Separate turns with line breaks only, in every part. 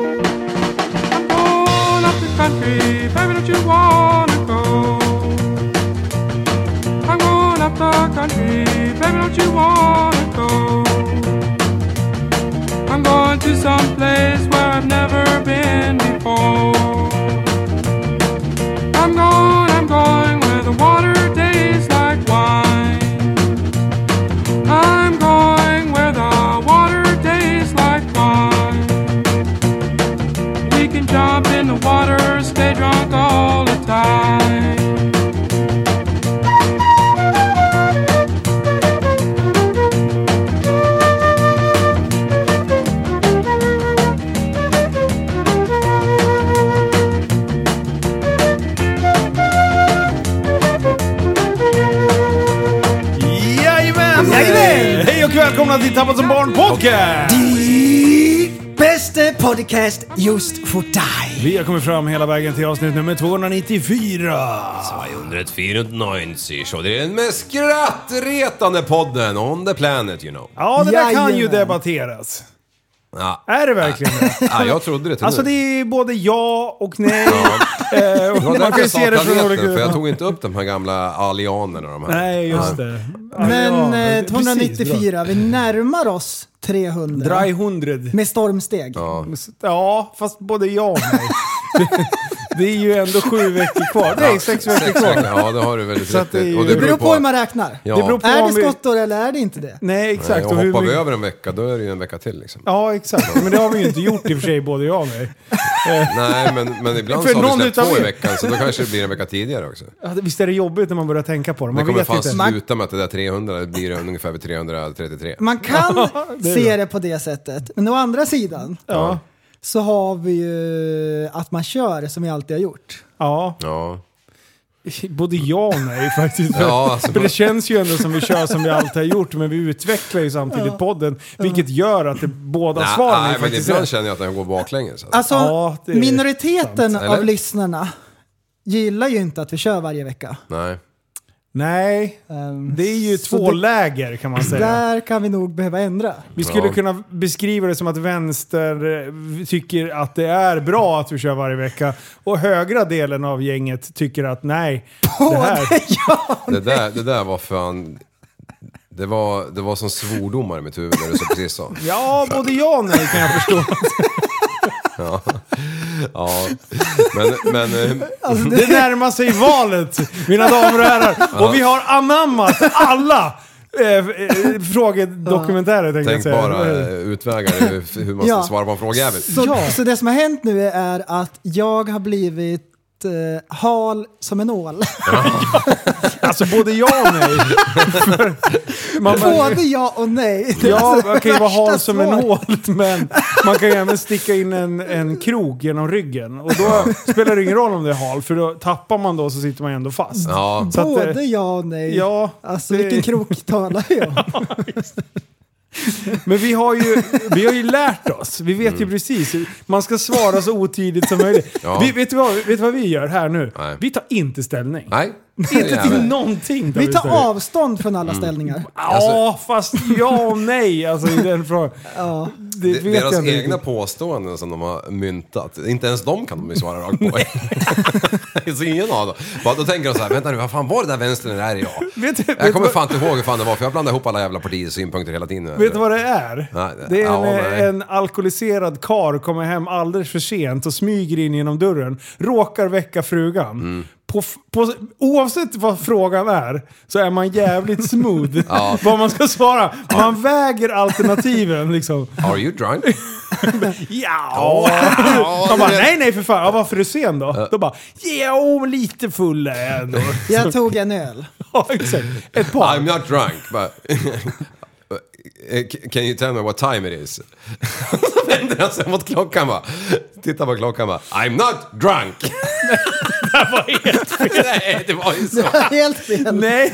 I'm going up the country, baby, don't you wanna go? I'm going up the country, baby, don't you wanna go? I'm going to some place where I've never been before. I'm going, I'm going where the water tastes like wine. I'm going where the water tastes like wine. We can jump in the water, stay drunk all the time.
Jajamän! Eh, Hej och välkomna till Tappat som barn podcast!
Bästa podcast just för dig.
Vi har kommit fram hela vägen till avsnitt nummer 294.
294 och det är den mest skrattretande podden on the planet you know.
Ja, det där kan ju
Jajamän.
debatteras.
Ja,
Är det verkligen det?
ja jag trodde det till
Alltså
nu.
det är både ja och nej. Eh, och
Det var
man
därför
kan ju
jag sa
se det från olika...
planeten, för jag tog inte upp de här gamla alianerna. De här.
Nej, just det.
Men
Ja,
eh,
precis,
294, vi närmar oss 300.
bra. Dry 100.
Med stormsteg.
Ja, fast både ja och nej. det är ju ändå sju veckor kvar. Nej, sex veckor
Sex
kvar.
veckor, ja det har du väldigt
Så att
rätt i.
det är-
Och
Det beror på hur man räknar.
Ja.
Det beror på
Är
om
det
vi-
skottår eller är det inte det?
Nej,
Nej,
exakt.
och
hur
hoppar vi
mycket-
över en vecka, då är det ju en vecka till liksom.
Ja, exakt. Men det har vi ju inte gjort i och för sig, både jag och mig.
Nej, men, men ibland
För
så har
någon
vi släppt
utav
två
er.
i veckan, så då kanske det blir en vecka tidigare också.
Ja, det- Visst är det jobbigt när man börjar tänka på det?
Det
Man
kommer
vet
fan
inte.
sluta med att det där 300 det blir ungefär vid 333.
Man kan
det är
se
bra.
det på det sättet. Men å andra sidan
Ja.
så har vi ju att man kör som vi alltid har gjort.
ja,
Ja.
både ja och nej faktiskt.
Ja, alltså,
För det känns ju ändå som vi kör som vi alltid har gjort, men vi utvecklar ju samtidigt podden. Vilket gör att det, båda
Nej,
svaren är
nej, men
faktiskt Ah.
ibland
rätt.
känner jag att den går baklänges. Alltså.
Alltså,
Ja, det är
minoriteten
sant.
av
Eller?
lyssnarna gillar ju inte att vi kör varje vecka.
Nej.
Nej,
Ehm,
det är ju
Så
två
det-
läger kan man säga.
Där kan vi nog behöva ändra.
Vi skulle
Ja.
kunna beskriva det som att vänster eh, tycker att det är bra att vi kör varje vecka och högra delen av gänget tycker att nej, det här...
Det där, det där var fan... Det var, det var som svordomar i mitt huvud när du så precis sa.
Ja, både ja och nej kan jag förstå.
Ja. Men, men, eh,
Alltså, Det närmar sig valet, mina damer och herrar. Och vi har anammat alla eh, eh, frågedokumentärer tänkte jag
tänk
säga.
bara eh, utvägar hur, hur man ska
Ja.
svara på en frågjävel.
Så, så det som har hänt nu är att jag har blivit eh, hal som en ål.
Alltså både ja och nej. För man bara,
Både ja och nej. Det är
ja,
alltså
man kan ju vara
värsta
hal som en
svar.
hål, men man kan ju även sticka in en, en krok genom ryggen. Och då spelar det ingen roll om det är hal, för då tappar man då så sitter man ju ändå fast.
Ja,
Så att, eh,
Både ja och nej.
Ja,
Alltså
det-
vilken krok talar vi om?
Men vi har, ju, vi har ju lärt oss. Vi vet ju precis. hur- Man ska svara så otydligt som möjligt.
Mm. Ja.
Vi, vet, du vad, vet du vad vi gör här nu?
Nej.
Vi tar inte ställning.
nej.
Inte till
Jävlar.
någonting.
Vi tar avstånd från alla ställningar.
Ja, fast ja och nej. Alltså, i den frågan.
Ja.
Det vet
Deras
jag inte.
egna påståenden som de har myntat, inte ens de kan de ju svara rakt på. Det finns ingen av dem. Bara, då tänker de så här, vänta nu, vad fan var det där vänstern är idag?
Vet du- vet
jag kommer
vad-
fan inte ihåg hur fan det var, för jag blandar ihop alla jävla partiers synpunkter hela tiden.
Vet du vad det är?
Nej,
Det är
ja,
en,
nej.
en alkoholiserad kar kommer hem alldeles för sent och smyger in genom dörren. Råkar väcka frugan.
Mm.
På, f- på, oavsett vad frågan är så är man jävligt smooth vad man ska svara. Man väger alternativen liksom.
Are you drunk?
Ja. De bara nej nej för fan, ja, varför är du sen då? De bara jo lite full är jag ändå.
Jag tog en öl.
Ja, exakt. Ett par.
I'm not drunk, but... Eh, Can you tell me what time it is? Så vänder han sig mot klockan bara. Titta på klockan bara. I'm not drunk! det var helt fel. Nej, det var ju så.
Helt fel.
Nej,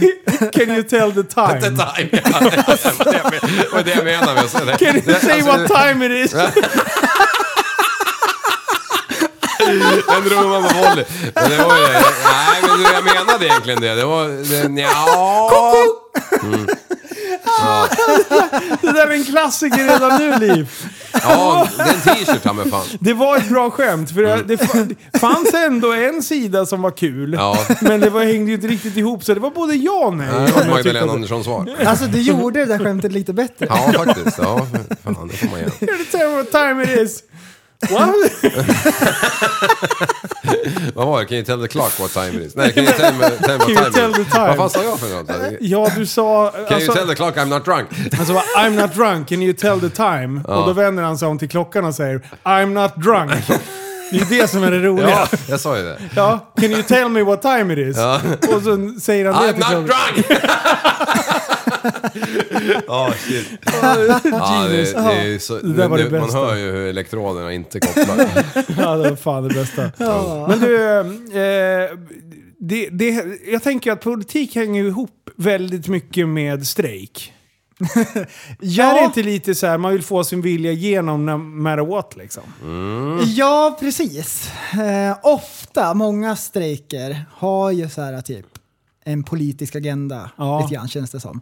can you tell the time?
The time. Ja, det var det jag men- det var det jag menade med att säga det.
Can you
Det-
say
alltså,
what time it is?
En rumma med volley. Men det var ju... Nej, men du, jag menade egentligen det. Det var... Det, ja.
Det där är en klassiker redan nu, Liv.
Ja, det är en t-shirt ta mig fan.
Det var ett bra skämt, för det, det fa- det fanns ändå en sida som var kul.
Ja.
Men det var, hängde ju inte riktigt ihop, så det var både ja och nej.
Det var Magdalena Anderssons svar.
Alltså du gjorde det där skämtet lite bättre.
Ja, faktiskt. Ja, fan, det får man göra.
Can you tell me what time it is? What?
Vad var det? Can you tell the clock what time it is? Nej, can you tell me, tell me
you
what time
tell
it
the
is?
time?
Vad fan sa jag för något? Can
Ja, du sa...
you tell
Alltså,
the clock I'm not drunk?
alltså, bara, I'm not drunk, can you tell the time? Och då vänder han sig om till klockan och säger I'm not drunk. Det är ju det som är det roliga.
Ja,
Ja.
jag sa ju det.
Can you tell me what time it is? Och så säger han det
I'm not
klockan.
drunk! Ja, Ah, shit. Ja, det, det är ju så,
där var Ah, det
man
bästa.
hör ju hur elektroderna inte kopplar.
Ja, det var fan det bästa. Men du, eh, det, det, jag tänker att politik hänger ju ihop väldigt mycket med strejk. Är det inte lite så här, man vill få sin vilja igenom no matter what liksom?
Ja, precis. Eh, ofta, många strejker har ju så här typ en politisk agenda.
Ja.
Lite grann känns det som.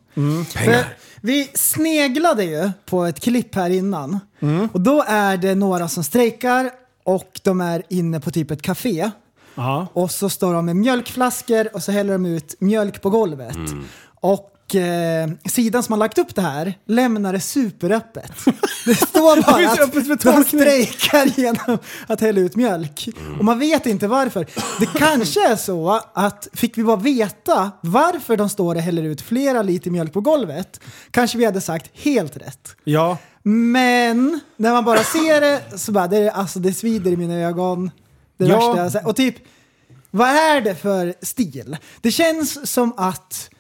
För Vi sneglade ju på ett klipp här innan. Och då är det några som strejkar och de är inne på typ ett café.
Ja.
Och så står de med mjölkflaskor och så häller de ut mjölk på golvet.
Mm.
Och eh, sidan som har lagt upp det här lämnar det superöppet. Det står bara
finns
att
öppet för
de
tolkning.
strejkar genom att hälla ut mjölk.
Mm.
Och man vet inte varför. Det kanske är så att fick vi bara veta varför de står och häller ut flera liter mjölk på golvet kanske vi hade sagt helt rätt.
Ja.
Men när man bara ser det så bara, det, är, alltså, det svider i mina ögon. Det
Ja.
värsta jag har sett. Och typ, vad är det för stil? Det känns som att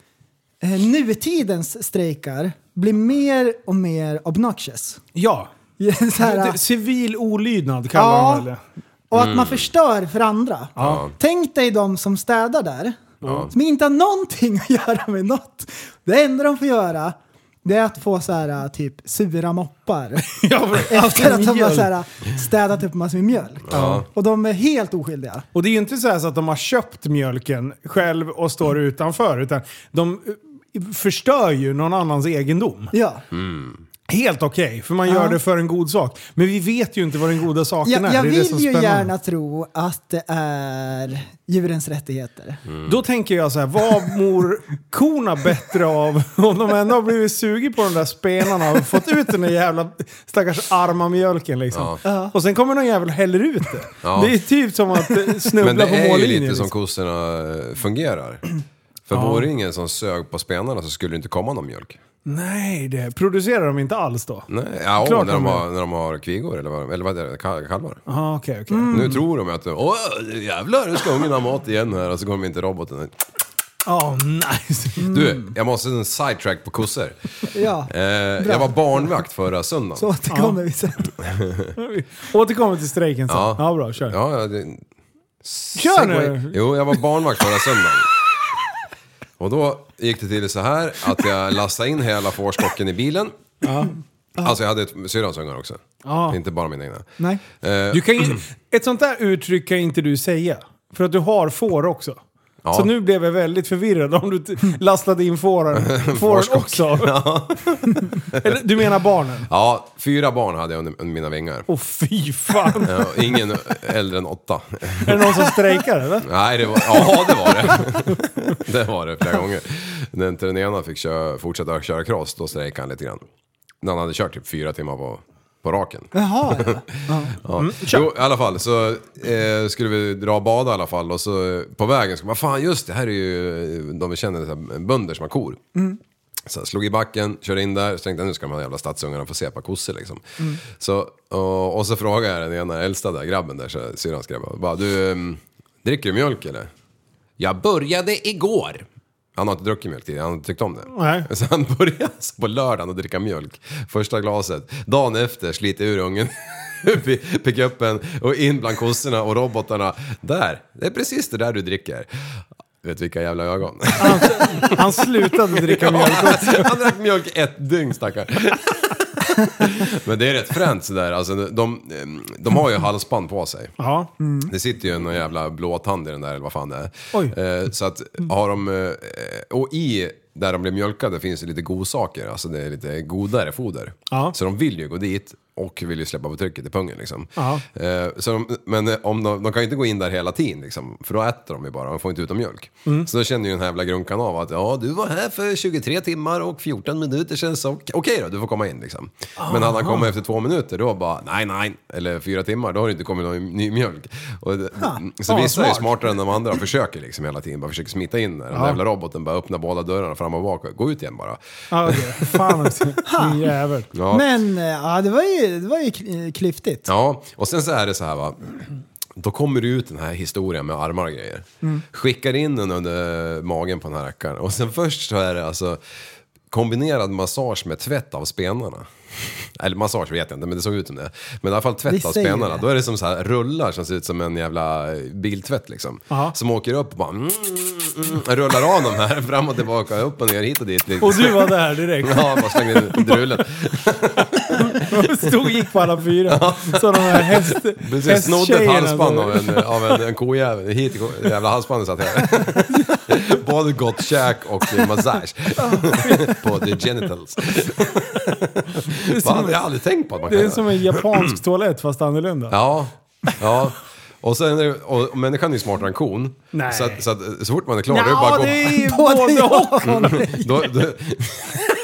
eh, nutidens strejkar blir mer och mer obnoxious.
ja.
så här,
Det, civil olydnad kallar
Ja.
de väl det?
och att man förstör för andra. Tänk dig de som städar där, som inte har någonting att göra med något. Det enda de får göra det är att få så här, typ sura moppar
Ja, för-
Efter att de har
mjöl.
så här, städat upp massor med mjölk. Och de är helt oskyldiga.
Och det är ju inte så, här så att de har köpt mjölken själv och står utanför, utan de eh, förstör ju någon annans egendom.
Ja.
Mm. Helt okej, för man gör
Ja.
det för en god sak. Men vi vet ju inte vad den goda saken är.
Jag, jag
det är det
vill
som är
ju
spännande.
gärna tro att det är djurens rättigheter.
Mm.
Då tänker jag så här, vad mår korna bättre av om de ändå har blivit sugen på de där spenarna och fått ut den där jävla stackars arma mjölken liksom. Och sen kommer någon jävel och häller ut det.
Ja.
Det är typ som att eh, snubbla
Men det
på mållinjen.
är ju lite
liksom.
som kossorna eh, fungerar. För vore det ingen som sög på spenarna så skulle det inte komma någon mjölk.
Nej, det producerar de inte alls då?
Nej, ja,
Klart
när, de
de
har, när de har kvigor eller vad, eller vad är det, kal- kalvar.
Aha, Ah, okej, okej.
Nu tror de att åh jävlar nu ska ungen ha mat igen här och så kommer inte roboten.
Ja, Ah, nice. Mm.
Mm.
Du, jag måste en sidetrack på kossor.
Ja,
Eh, jag var barnvakt förra söndagen.
så återkommer vi sen.
Återkommer till strejken sen. Ja,
Ja.
bra. Kör.
Ja, ja, det...
Kör
Segway.
nu!
Jo, jag var barnvakt förra söndagen. Och då gick det till så här att jag lastade in hela fårskocken i bilen. Alltså jag hade ett- syrrans ungar också.
Ja.
Inte bara mina egna.
Nej.
Eh,
Du kan ju, ett sånt där uttryck kan inte du säga. För att du har får också.
Ja.
Så nu blev jag väldigt förvirrad om du t- lastade in fåren, fåren
Fårskock.
också. Eller, du menar barnen?
Ja, fyra barn hade jag under, under mina vingar.
Åh fy fan.
Ja, ingen äldre än åtta.
Är det någon som strejkar eller?
Nej, det var, ja det var det. Det var det flera gånger. När inte den ena fick köra, fortsätta köra cross, då strejkade han lite grann. När han hade kört typ fyra timmar på, på raken.
Jaha, ja.
Ja. jo, i alla fall så eh, skulle vi dra och bada i alla fall och så eh, på vägen så bara fan just det här är ju eh, de vi känner, så här, bönder som har kor. Så jag slog i backen, körde in där, så tänkte jag nu ska de här jävla stadsungarna få se ett par kossor liksom. Så, och, och så frågade jag den ena äldsta där, grabben där, så här, syrrans grabb, bara du, ehm, dricker du mjölk eller? Jag började igår. Han har inte druckit mjölk tidigare, han har inte tyckt om det.
Nej.
Så han började alltså på lördagen att dricka mjölk. Första glaset. Dagen efter sliter ur ungen ur pickupen och in bland kossorna och robotarna. Där, det är precis det där du dricker. Vet vilka jävla ögon.
Han slutade dricka mjölk.
Han drack mjölk ett dygn stackarn. Men det är rätt fränt sådär. Alltså, de, de har ju halsband på sig.
Ja. Mm.
Det sitter ju en jävla blåtand i den där eller vad fan det är.
Oj.
Eh, så att
Mm.
har de... Eh, och i där de blir mjölkade finns det lite godsaker. Alltså det är lite godare foder.
Ja.
Så de vill ju gå dit och vill ju släppa på trycket i pungen liksom.
Ja.
Eh, så de, men eh, om de, de kan ju inte gå in där hela tiden liksom, för då äter de ju bara, de får inte ut dem mjölk.
Mm.
Så då känner ju den här jävla grunkan av att ja, du var här för 23 timmar och 14 minuter sen så okej då, du får komma in liksom. Men hade han kommit efter två minuter då bara nej, nej, eller fyra timmar, då har det inte kommit någon ny mjölk. Och, det- så
Ja,
vissa är ju
smart.
smartare än de andra och försöker liksom hela tiden, bara försöker smita in där. Den där jävla roboten bara öppnar båda dörrarna fram och bak, gå ut igen bara.
Ja, okej. Fan också. Din jävel.
Ja.
Men eh, ja, det var ju, det var ju kl- eh, klyftigt.
Ja, och sen så är det så här va. Då kommer det ut den här historien med armar och grejer. Skickar in den under magen på den här rackaren. Och sen först så är det alltså kombinerad massage med tvätt av spenarna. Eller massage vet jag inte, men det såg ut som det. Men i alla fall tvätt
Vi
av
säger
spenarna.
det.
Då är det som så här rullar som ser ut som en jävla biltvätt liksom.
Aha.
Som åker upp och bara mm, mm, mm, rullar av dem här fram och tillbaka, upp och ner, hit och dit. Liksom.
Och du var där direkt.
Ja, bara slängde in drullen.
Stod och gick på alla fyra. Så de här häst,
Precis, snodde ett
hästtjejerna
halsband
där.
av en, av en, en kojävel. Hit i ko- jävla halsbandet satt här. Både gott käk och eh, massage. på the genitals. Fan, jag har aldrig tänkt på att man kan
Det är
göra
som en japansk toalett fast annorlunda.
Ja, ja. Och, sen är det, och människan är ju smartare än kon.
Nej.
Så, att, så, att, så fort man är klar,
Ja,
det är bara att gå-
det är
Både
både
ja
och.
Mm. då, då,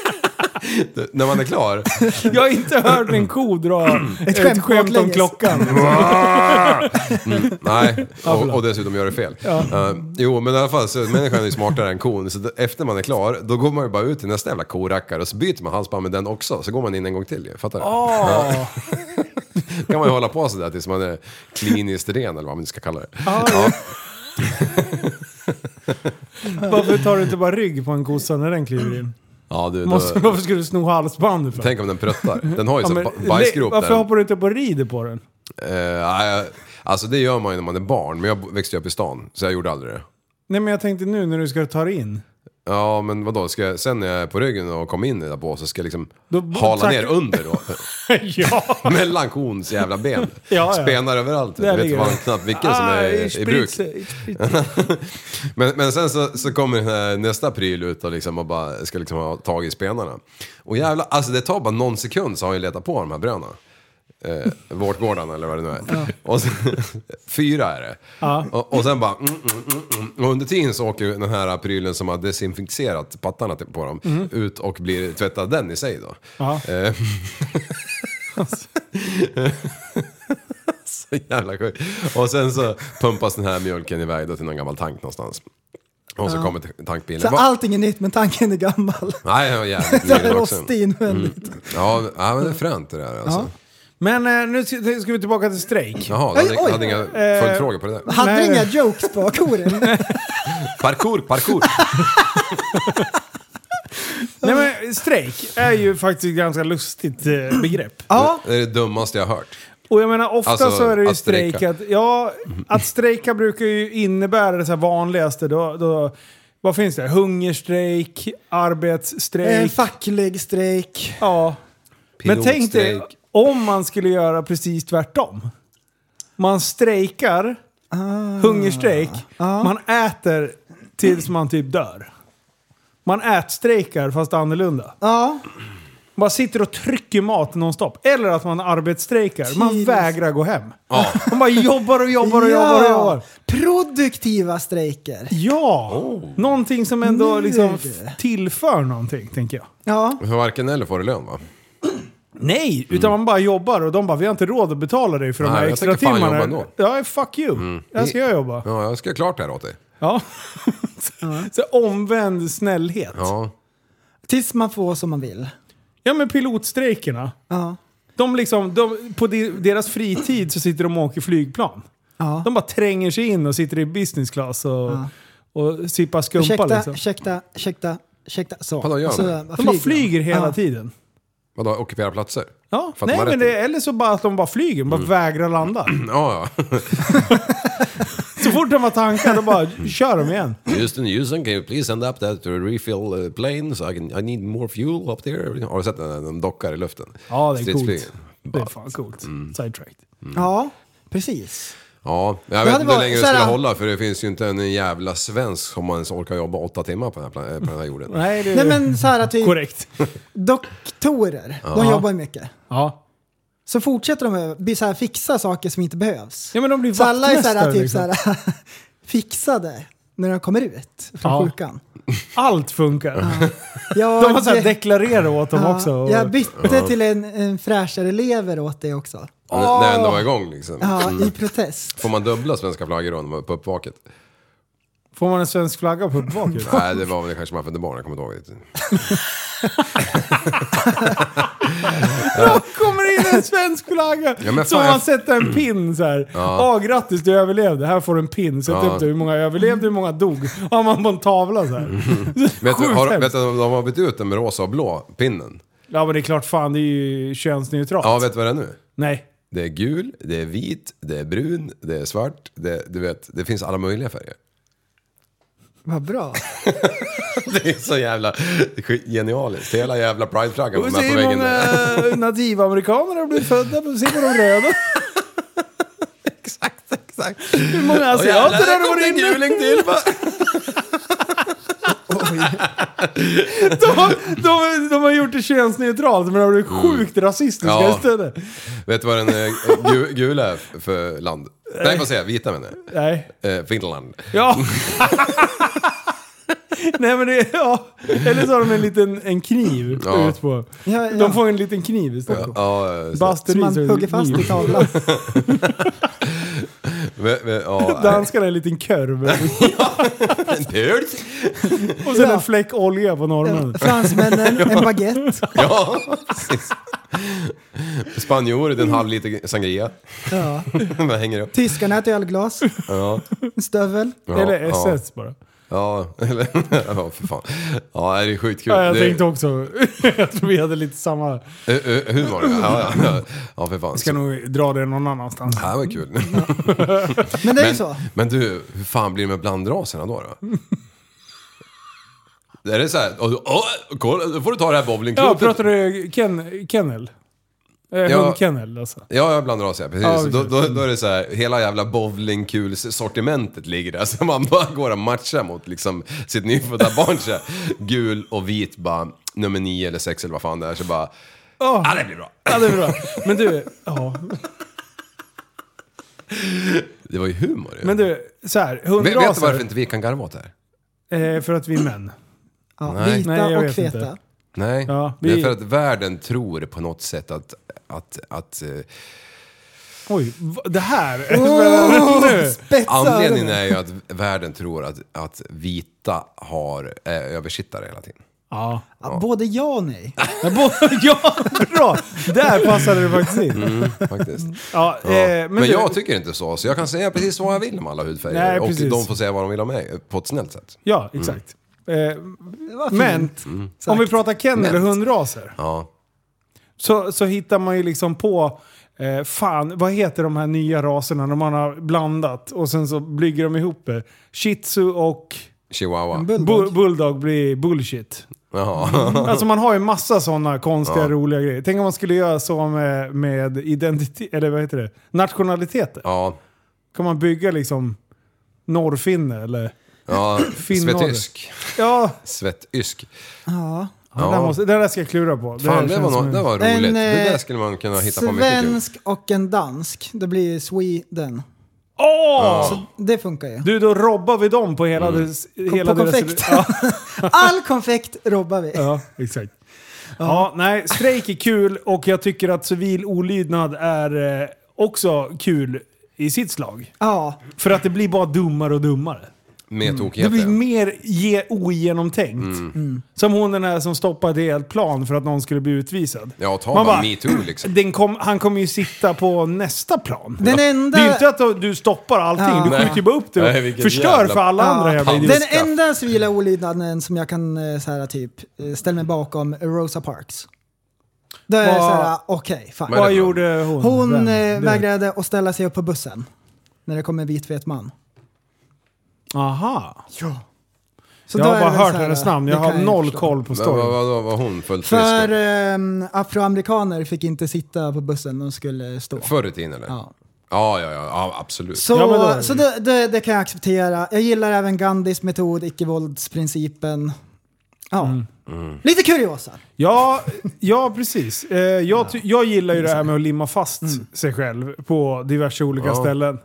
När man är klar,
Jag har inte hört en ko dra ett
skämt
skämt, skämt om
baklänges.
klockan.
Nej, och, och dessutom gör det fel. Eh, jo, men i alla fall så människan är ju smartare än kon. Så d- efter man är klar, då går man ju bara ut till nästa jävla korackare och så byter man halsband med den också. Så går man in en gång till ju. Fattar du?
Ja.
kan man ju hålla på sådär tills man är kliniskt ren eller vad man nu ska kalla det.
Ah, Varför tar du inte bara rygg på en kossa när den kliver in?
Mm. Ja, du, då,
Måste, varför ska du sno halsbandet för?
tänk om den pruttar. Den har ju
Ja,
så
men
ba- bajsgrop
le- varför
där.
hoppar du inte på och rider på den?
Eh, nej, alltså det gör man ju när man är barn, men jag växte ju upp i stan, så jag gjorde aldrig det.
Nej men jag tänkte nu när du ska ta dig in.
Ja, men vadå, ska jag, sen när jag är på ryggen och kommer in i det där båset ska jag liksom
Då b-
hala
tack-
ner under då.
ja!
Mellan kons jävla ben.
ja.
Spenar överallt.
Där
Du vet
ligger Ah,
fan
den.
knappt vilken som är i bruk. Men, men sen så, så kommer den här nästa pryl ut och, liksom och bara, ska liksom ha tag i spenarna. Och jävla, alltså det tar bara någon sekund så har han ju letat på de här bröna. Eh, Vårtgårdarna eller vad det nu är. Och sen, fyra är det. Och, och sen bara... Mm, mm, mm, mm. Och under tiden så åker ju den här prylen som har desinficerat pattarna till- på dem
Mm.
ut och blir tvättad den i sig då.
Ja.
Eh, så jävla sjukt. Och sen så pumpas den här mjölken iväg då till någon gammal tank någonstans. Och så kommer t- tankbilen.
Så
Va-
allting är nytt men tanken är gammal.
Nej, jag var jävligt
Det är
nyligen också. Mm.
rostig invändigt.
Ja, ja, men det är fränt det där alltså.
Men eh, nu ska ska vi tillbaka till strejk.
Jaha, du hade,
Oj, Eh. oj.
hade inga följdfrågor på det där.
Hade
Nej.
du inga jokes på koren?
Parkour, parkour!
Nej men strejk är ju faktiskt ett ganska lustigt eh, begrepp.
Ja,
Det är det dummaste jag har hört.
Och jag menar ofta
Ah. Alltså,
så är det ju
att strejka.
strejk att, ja, att strejka brukar ju innebära det så här vanligaste då, då vad finns det? Hungerstrejk,
eh,
arbetsstrejk.
facklig strejk.
ja. Men tänk dig
Pilotstrejk.
om man skulle göra precis tvärtom.
Ah.
Man strejkar, hungerstrejk, man äter tills man typ dör. Man ätstrejkar fast annorlunda.
Ja,
Man sitter och trycker mat nonstop. Eller att man arbetsstrejkar. Man
Jesus.
vägrar gå hem. Man bara jobbar och jobbar och jobbar och jobbar.
Produktiva strejker.
Ja! Någonting som
Oh. Nu
ändå
är
liksom
det.
f- tillför någonting, tänker jag.
Ja,
För varken eller får du lön va?
Nej, utan man bara jobbar och de bara vi har inte råd att betala dig för de
Mm. Nej,
här
jag
extra
tänker fan
timmarna.
jobba ändå. Mm.
Ja, fuck you. Här ska jag jobba.
Ja, jag ska göra klart det här åt dig.
Ja. Så omvänd snällhet. Ja.
Ja.
tills man får som man vill.
men pilotstrejkerna.
Ja,
De liksom, de, på de, deras fritid så sitter de och åker flygplan.
ja.
De bara tränger sig in och sitter i business class och, och sippar skumpa
Ursäkta,
liksom.
ursäkta, ursäkta, ursäkta. Så.
Vadå, gör
så
de?
De bara
flyger
flyger hela
Ja.
tiden.
Vadå, ockupera platser?
Ja,
För att
nej
de har
men
rätt Mm.
det, eller så bara att de bara flyger, bara vägrar landa.
Ja, ja.
Så fort de har tankar då bara kör de igen.
Houston, Houston, can you please send up that to refill uh, plane? So I, can, I need more fuel up there. Har du sett när de dockar i luften?
Ja det är coolt.
Stridsflygen.
Det är fan coolt.
Mm.
Sidetrack.
Ja, precis.
Ja, jag vet
Det hade
inte hur
varit
länge det
såhär-
skulle hålla för det finns ju inte en jävla svensk som ens orkar jobba åtta timmar på den här, plan- på den här jorden.
Nej det är
Nej men så här typ
Eh, korrekt.
doktorer, de jobbar ju mycket.
Ja.
Så fortsätter de att bli så här, fixa saker som inte behövs.
ja men de blir
så alla är så här,
vaktmästare,
typ
liksom.
så här, fixade när de kommer ut från
Ja.
sjukan.
Allt funkar.
Jag,
De har så här deklarerat åt dem
ja,
också. Och,
Jag bytte till en, en fräschare lever åt det också.
N- När jag ändå var igång liksom.
Ja, i protest.
Får man dubbla svenska flaggor då när man- på uppvaket?
Får man en svensk flagga på uppvaket?
Nej, det var väl kanske man för barn, jag kommer inte ihåg riktigt.
Då kommer in en svensk flagga!
Ja, men
så
fan,
man
jag-
sätter en pin så här. Ja, grattis du överlevde. Här får du en pin. Sätt
Ja.
upp det. Hur många överlevde, hur många dog? Har man på en tavla så här.
Vet du,
Sjukt
har,
hemskt.
vet du, om de har bytt ut den med rosa och blå pinnen.
Ja men det är klart fan, det är ju könsneutralt.
Ja, vet du vad det är nu?
Nej.
Det är gul, det är vit, det är brun, det är svart. Det, du vet, det finns alla möjliga färger.
Vad bra.
Det är så jävla skit- genialiskt. Hela jävla prideflaggan var
Och se
med på
hur
väggen.
många
där.
nativamerikaner har blivit födda. och Se på de röda.
Exakt, exakt.
Hur många
Åh, jävlar,
asiater har
där
det
kom det
varit
en
inne?
guling till va?
De, de, de har gjort det könsneutralt men de har blivit sjukt rasistiska
Mm. Ja.
istället.
Vet du vad den eh, gu- gula är för land? Nej, vad säger jag? Vita menar jag.
Nej.
Eh, Finland.
Ja. Nej men det, ja. Eller så har de en liten en kniv
Ja.
ut på.
Ja, ja.
De får en liten kniv istället.
Ja, eh, så-
Basteri
Som man
så är det
hugger fast i
kniv.
tavlan.
men- men- ja, nej.
Danskarna är en liten körv
Dude.
och sen
Ja.
en fläck olja på norrmännen.
Fransmännen, en baguette.
Ja, precis. Spanjorer, det är en halv liter sangria.
Ja.
Man hänger upp.
Tyskarna ett ölglas. En stövel.
Ja,
Eller
ja.
SS bara.
Ja, eller... Ja, för fan. Ja, det är skitkul.
Ja, jag
det,
tänkte också, jag tror vi hade lite samma.
Ö, ö, humor, ja. Ja, ja. ja för fan.
Ska nog Mm. dra det någon annanstans.
Det här var kul.
Men det är ju
Men,
så.
men du, hur fan blir det med blandraserna då? då? Det är det så här, och, åh, kolla, då får du ta det här
Ja,
bowlingklotet.
pratar du ken, kennel? Eh,
Ja.
Hundkennel alltså.
Ja, ja, blandras ja, precis.
Ja,
då,
precis.
då, då är det så här, hela jävla bowlingkulssortimentet ligger där. Så man bara går och matchar mot liksom sitt nyfödda barn så här, Gul och vit bara, nummer nio eller sex eller vad fan det är. Så bara, ja ah, det blir bra.
Ja, det är bra. Men du, ja.
Det var ju humor ju.
Men du, så här.
vet,
Hundraser.
vet du varför inte vi kan garva åt det här?
Eh, för att vi är män.
Ja,
Nej.
vita
Nej, jag
och
vet
feta.
inte.
Nej,
Ja,
det
vi-
är för att världen tror på något sätt att, att, att eh,
Oj, va- det här är
Oh.
Åh,
nu.
spetsa
Anledningen
öronen.
är ju att världen tror att, att vita har eh, översittare hela tiden.
Ja.
Ja, Både ja och nej.
Men bo- ja, bra! Där passade det faktiskt in.
Faktiskt.
Ja,
Mm. Ja.
eh, men
men
du,
jag tycker inte så, så jag kan säga precis vad jag vill om alla hudfärger.
Nej,
och
precis.
de får säga vad de vill om mig, eh, på ett snällt sätt.
Ja, exakt. Eh,
Det var
men,
fint.
Mm.
om vi pratar kennel och hundraser.
Ja.
Så, så hittar man ju liksom på, eh, fan vad heter de här nya raserna när man har blandat och sen så bygger de ihop det. Shih tzu och
Chihuahua.
Bulldog.
bu- bulldog blir bullshit.
Jaha.
Alltså man har ju massa sådana konstiga,
Ja.
roliga grejer. Tänk om man skulle göra så med, med identitet, eller vad heter det? Nationaliteter.
Ja.
Kan man bygga liksom norrfinne eller?
Ja,
Finnorr.
svettysk.
Ja,
Svettysk.
Det, där måste, det där ska jag klura på. Det
Fan,
där
det
känns
var,
som
något,
en-
det var roligt.
En,
det
eh,
där skulle man kunna hitta på mycket kul.
Svensk och en dansk. Det blir Sweden.
Åh!
Det funkar ju.
Du, då robbar vi dem på hela,
Mm.
dess, hela
på
deras...
konfekt.
Ja,
All konfekt robbar vi.
ja, exakt. Ja, nej, strejk är kul och jag tycker att civil olydnad är eh, också kul i sitt slag.
Ja,
För att det blir bara dummare och dummare.
Med
Det
tokigheter.
blir mer ge ogenomtänkt.
Mm.
Mm.
Som hon den här som stoppade ett helt plan för att någon skulle bli utvisad.
Ja, ta
Man
bara,
bara-
metoo liksom.
Den kom, han kommer ju sitta på nästa plan.
Den enda-
Det är ju inte att du stoppar allting,
Ja.
du skjuter ju bara upp
Nej,
det och
vilket
förstör
jävla-
för alla
Ja.
andra jävla
Den-
idioter.
Den
Straff.
enda civila olydnaden som jag kan eh, så här, typ eh, ställa mig bakom är Rosa Parks. Det är
Vad-
så här, okej, fine.
Vad är
Vad
det?
gjorde hon?
Hon
Vem?
eh,
Du.
vägrade att ställa sig upp på bussen när det kom en vitvet man.
Aha.
Så
jag
då
har
är
bara
det väl
hört
så här,
hennes namn,
det
jag har
kan ju
noll
förstå.
koll på
Men Vad
storyn.
vad- vad var hon fullt
För
frisk?
ehm, afroamerikaner fick inte sitta på bussen när de skulle stå.
Förr i tiden eller?
Ja.
Ja, ja, ja, ja absolut.
Så,
Ja, men då är det
så
ju-
det, det, det kan jag acceptera. Jag gillar även Gandhis metod, icke-våldsprincipen. Ja.
Mm.
Lite kuriosa.
Ja, ja, precis. Eh, jag, ty- jag gillar ju det här med att limma fast sig själv på diverse olika ställen.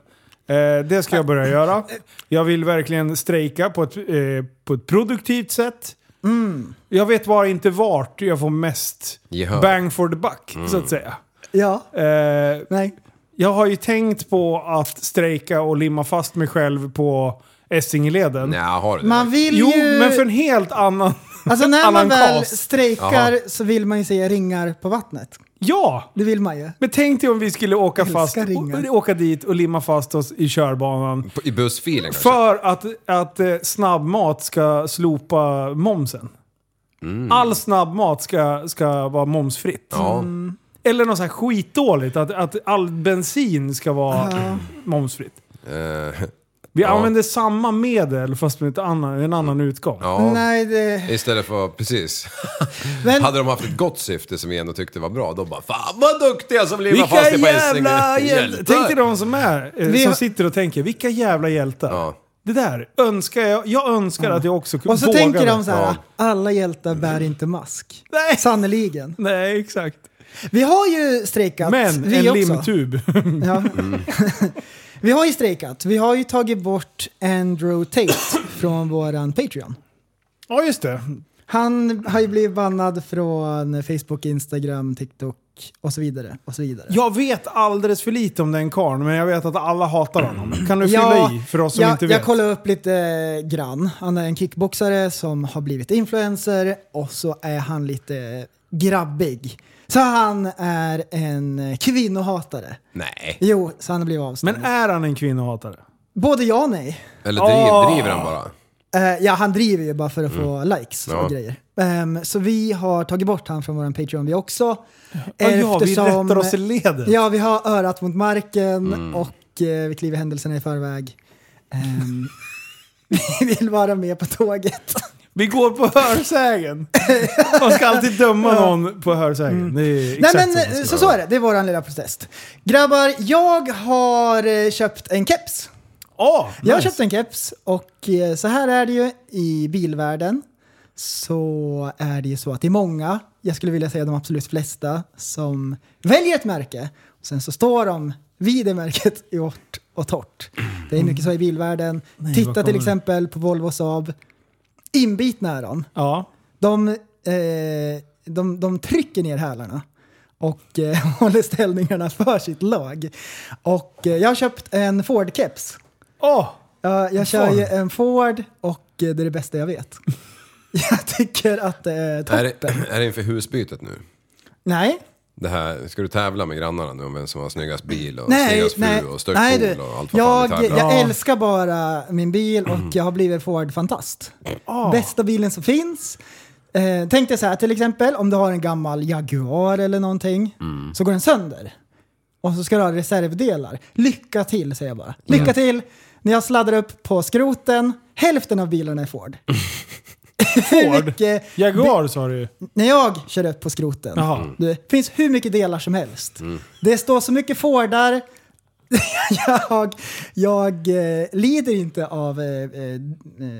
Eh, det ska jag börja göra. Jag vill verkligen strejka på ett, eh, på ett produktivt sätt. Jag vet bara inte vart jag får mest
Gehör.
bang for the buck, så att säga.
Ja,
Eh,
nej.
jag har ju tänkt på att strejka och limma fast mig själv på Essingeleden.
Nej, har du det?
Man vill
Jo,
ju...
men för en helt annan...
Alltså när man
Allan
väl
Kast.
strejkar så vill man ju se ringar på vattnet.
Ja!
Det vill man ju.
Men tänk dig om vi skulle åka,
Älskar
fast,
ringar.
åka dit och limma fast oss i körbanan.
På- I bussfilen kanske?
För att, att eh, snabbmat ska slopa momsen. All snabbmat ska, ska vara momsfritt.
Mm. Ja.
Eller något så här skitdåligt, att, att all bensin ska vara momsfritt.
Eh,
Vi
Ja. Mm.
använder samma medel fast med ett annan, en annan utgång.
ja.
Nej, det...
Istället för, precis.
Men,
Hade de haft ett gott syfte som vi ändå tyckte var bra, då bara Fan vad duktiga som limmar
Vilka
fast det på
jävla
Essingeleden.
hjältar! Tänk dig de som är, eh,
Vi-
som sitter och tänker, vilka jävla hjältar.
Ja.
Det där önskar jag, jag önskar att jag också kunde
och så tänker de så här,
Ja.
alla hjältar bär inte mask.
Nej.
Sannerligen.
Nej, exakt.
Vi har ju strejkat.
Men
vi
en
också.
limtub.
Ja. vi har ju strejkat. Vi har ju tagit bort Andrew Tate från våran Patreon.
ja, just det.
Han har ju blivit bannad från Facebook, Instagram, TikTok och så vidare. Och så vidare.
Jag vet alldeles för lite om den karln, men jag vet att alla hatar honom. Kan du fylla i för oss som
jag,
inte
Jag
vet?
kollade upp lite eh, grann. Han är en kickboxare som har blivit influencer och så är han lite grabbig. Så han är en kvinnohatare.
Nej.
Jo, så han har blivit avstängd.
Men är han en kvinnohatare?
Både ja och nej.
Eller driv,
Åh.
driver han bara?
Eh, ja, han driver ju bara för att få
Mm.
likes och
Ja.
grejer. Ehm, så vi har tagit bort han från vår Patreon vi också.
Ja, ja, vi rättar oss i ledet.
Ja, vi har örat mot marken
Mm.
och eh, vi kliver händelserna i förväg. Ehm, vi vill vara med på tåget.
Vi går på hörsägen. Man ska alltid döma någon på hörsägen. Det är
Mm. Nej
exakt
men
så man ska
eh,
göra.
så, så är det, det är våran lilla protest. Grabbar, jag har eh, köpt en keps.
Ja, nice.
Jag har köpt en keps och eh, så här är det ju i bilvärlden. Så är det ju så att det är många, jag skulle vilja säga de absolut flesta, som väljer ett märke. Och sen så står de vid det märket i hårt och torrt. Det är mycket så i bilvärlden.
Mm. vad
Titta
kommer
till
det?
exempel på Volvo och Saab. Inbitna är de.
Ja.
De, eh, de, de trycker ner hälarna och eh, håller ställningarna för sitt lag. Och eh, jag har köpt en Ford-keps.
Åh!
Ja, jag kör ju
Ford.
en Ford och eh, det är det bästa jag vet. Jag tycker att eh, det är toppen.
Är det, är det inför husbytet nu?
Nej,
Det här, ska du tävla med grannarna nu om vem som har snyggast bil och
nej,
snyggast
nej.
fru och störst
nej
pool
du.
och allt vad
Jag,
fan vi tävlar om?
jag älskar bara min bil
Mm.
och jag har blivit Ford-fantast. Bästa bilen som finns. Eh, tänk dig så här till exempel, om du har en gammal Jaguar eller någonting
Mm.
så går den sönder. Och så ska du ha reservdelar. Lycka till säger jag bara. Lycka
Mm.
till! När jag sladdar upp på skroten, hälften av bilarna är Ford.
Ford?
Mycket-
Jaguar sa du ju.
när jag kör upp på skroten, mm.
Jaha.
det finns hur mycket delar som helst. Det står så mycket Fordar jag, jag eh, lider inte av eh, eh,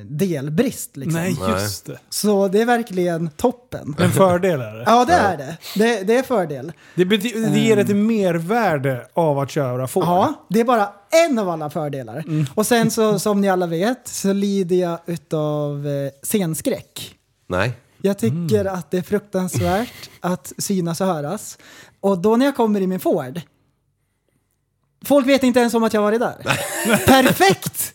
delbrist. Liksom.
Nej, just det.
Så det är verkligen toppen.
En fördel är det.
Ja, det är det. Det, det är fördel.
Det, bety- det ger ett
Mm.
mervärde av att köra får.
Ja, det är bara en av alla fördelar.
Mm.
Och sen så, som ni alla vet, så lider jag utav eh, scenskräck.
Nej.
Jag tycker
Mm.
att det är fruktansvärt att synas och höras. Och då när jag kommer i min Ford, folk vet inte ens om att jag har varit där. Perfekt!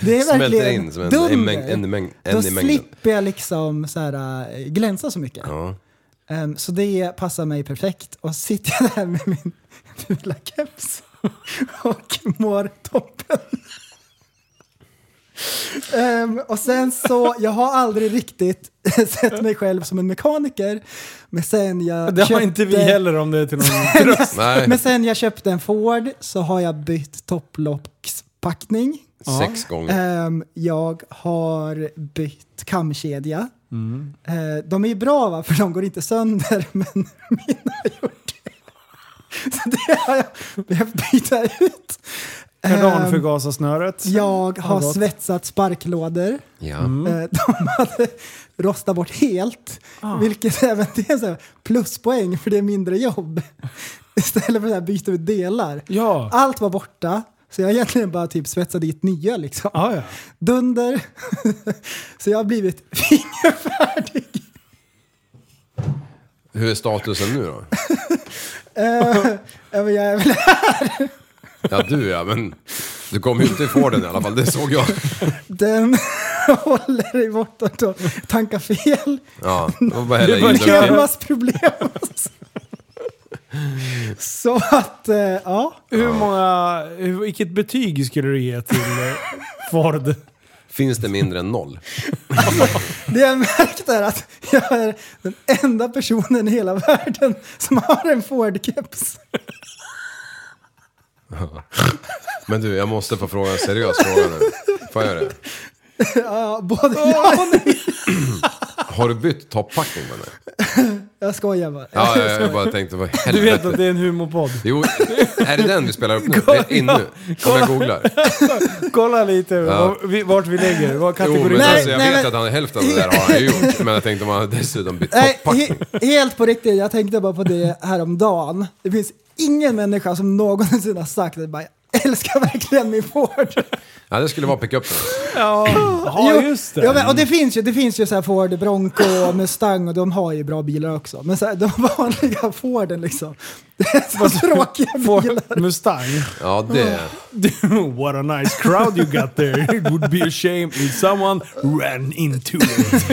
det är
Smälter
verkligen
in som en-
dunder.
en mängd- en mängd- en
Då
i mängden.
slipper jag liksom så här, äh, glänsa så mycket.
Ja.
Ehm, så det passar mig perfekt. Och sitter jag där med min fula keps och mår toppen. Ehm, och sen så, jag har aldrig riktigt sett mig själv som en mekaniker. Men sen jag
Det har
köpte-
inte vi heller om det är till någon tröst.
Nej.
Men sen jag köpte en Ford så har jag bytt topplockspackning.
Sex gånger.
Ehm, jag har bytt kamkedja. Eh, de är ju bra va, för de går inte sönder, men min har gjort det. Så det har jag behövt byta ut. Ehm,
Kardanförgasarsnöret.
jag har
gått.
svetsat sparklådor.
Ja.
Mm.
Eh, de hade rostat bort helt, vilket även det är så här pluspoäng för det är mindre jobb. Istället för att byta ut delar.
Ja.
Allt var borta, så jag egentligen bara typ svetsade dit nya liksom.
Ah, ja.
Dunder. så jag har blivit fingerfärdig.
Hur är statusen nu då?
Ja, men jag är väl-
Ja, du ja, men du kom ju inte ifrån den i alla fall, det såg jag.
Den håller dig borta då. Tanka fel.
Ja, det var bara att hälla
bara
i den.
kör.
Körmasproblem. så att, eh, ja.
Hur många... Hur, vilket betyg skulle du ge till eh, Ford?
Finns det mindre än noll?
Det jag märkt är att jag är den enda personen i hela världen som har en Ford-keps.
Men du, jag måste få fråga en seriös fråga nu. Får jag göra det?
Ja, både ja och nej.
Har du bytt toppackning på den? här?
Jag skojar bara.
Ja, jag, jag bara tänkte, vad i
Du
helvete?
vet att det är en humorpodd.
Jo, är det den vi spelar upp nu? Det är in nu, om jag googlar.
Typ Kolla lite var- vi- vart vi lägger. Vad
Jo,
kategori...
men
Nej,
alltså, jag
nej,
vet
men-
att han, hälften av det där har han ju gjort. Men jag tänkte om han dessutom bytt
Nej,
toppackning.
he- helt på riktigt. Jag tänkte bara på det häromdagen. Det finns ingen människa som någonsin har sagt att bara, jag älskar verkligen min Ford.
Ja, det skulle vara pickupen.
Ja, just det.
Ja, men, och det finns ju, det finns ju så här Ford Bronco och Mustang och de har ju bra bilar också. Men så här, de vanliga Forden liksom. Det är så tråkiga bilar.
Ford Mustang.
Ja, det...
What a nice crowd you got there. It would be a shame if someone ran into it.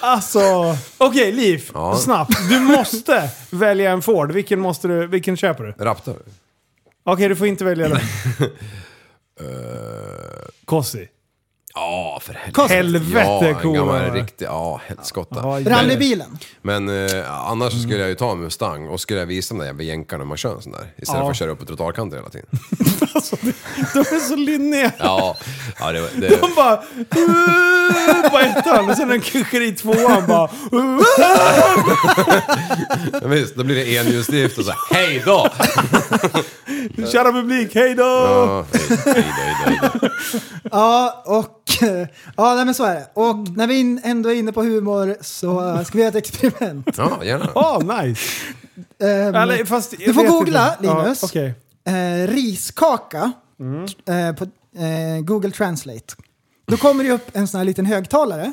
alltså, okej Liv.
Ja.
Snabbt. Du måste välja en Ford. Vilken, måste du, vilken köper du? Okej,
Raptor?
du får inte välja den. Kossi.
Ja, för helvete.
Kost- Helvete,
ja, en
cool var
gammal
det.
riktig... Ja, helskotta.
Ja, ja.
Rallybilen.
Men eh, annars så skulle jag ju ta en Mustang och skulle jag visa de där jävla jänkarna hur man kör en sån där. Istället
Ja.
för att köra upp på trottoarkanter hela tiden.
Alltså, de, de är så linniga.
Ja, ja det, det,
De bara... På ettan och sen när de kör i tvåan bara...
ja, visst, då blir det enhjulsdrift och så här, hej då!
Kära publik, hej då!
Ja, hej, hej då, hej då, hej då.
Ja, och... eh, Ja, nej, men så är det. Och när vi in- ändå är inne på humor så eh, ska vi göra ett experiment.
Ja, gärna.
Ah, nice!
Ehm,
Eller, fast, jag
du får
vet
googla,
inte. Ja,
Linus.
okej.
eh, riskaka
Mm.
eh, på eh, Google Translate. Då kommer det upp en sån här liten högtalare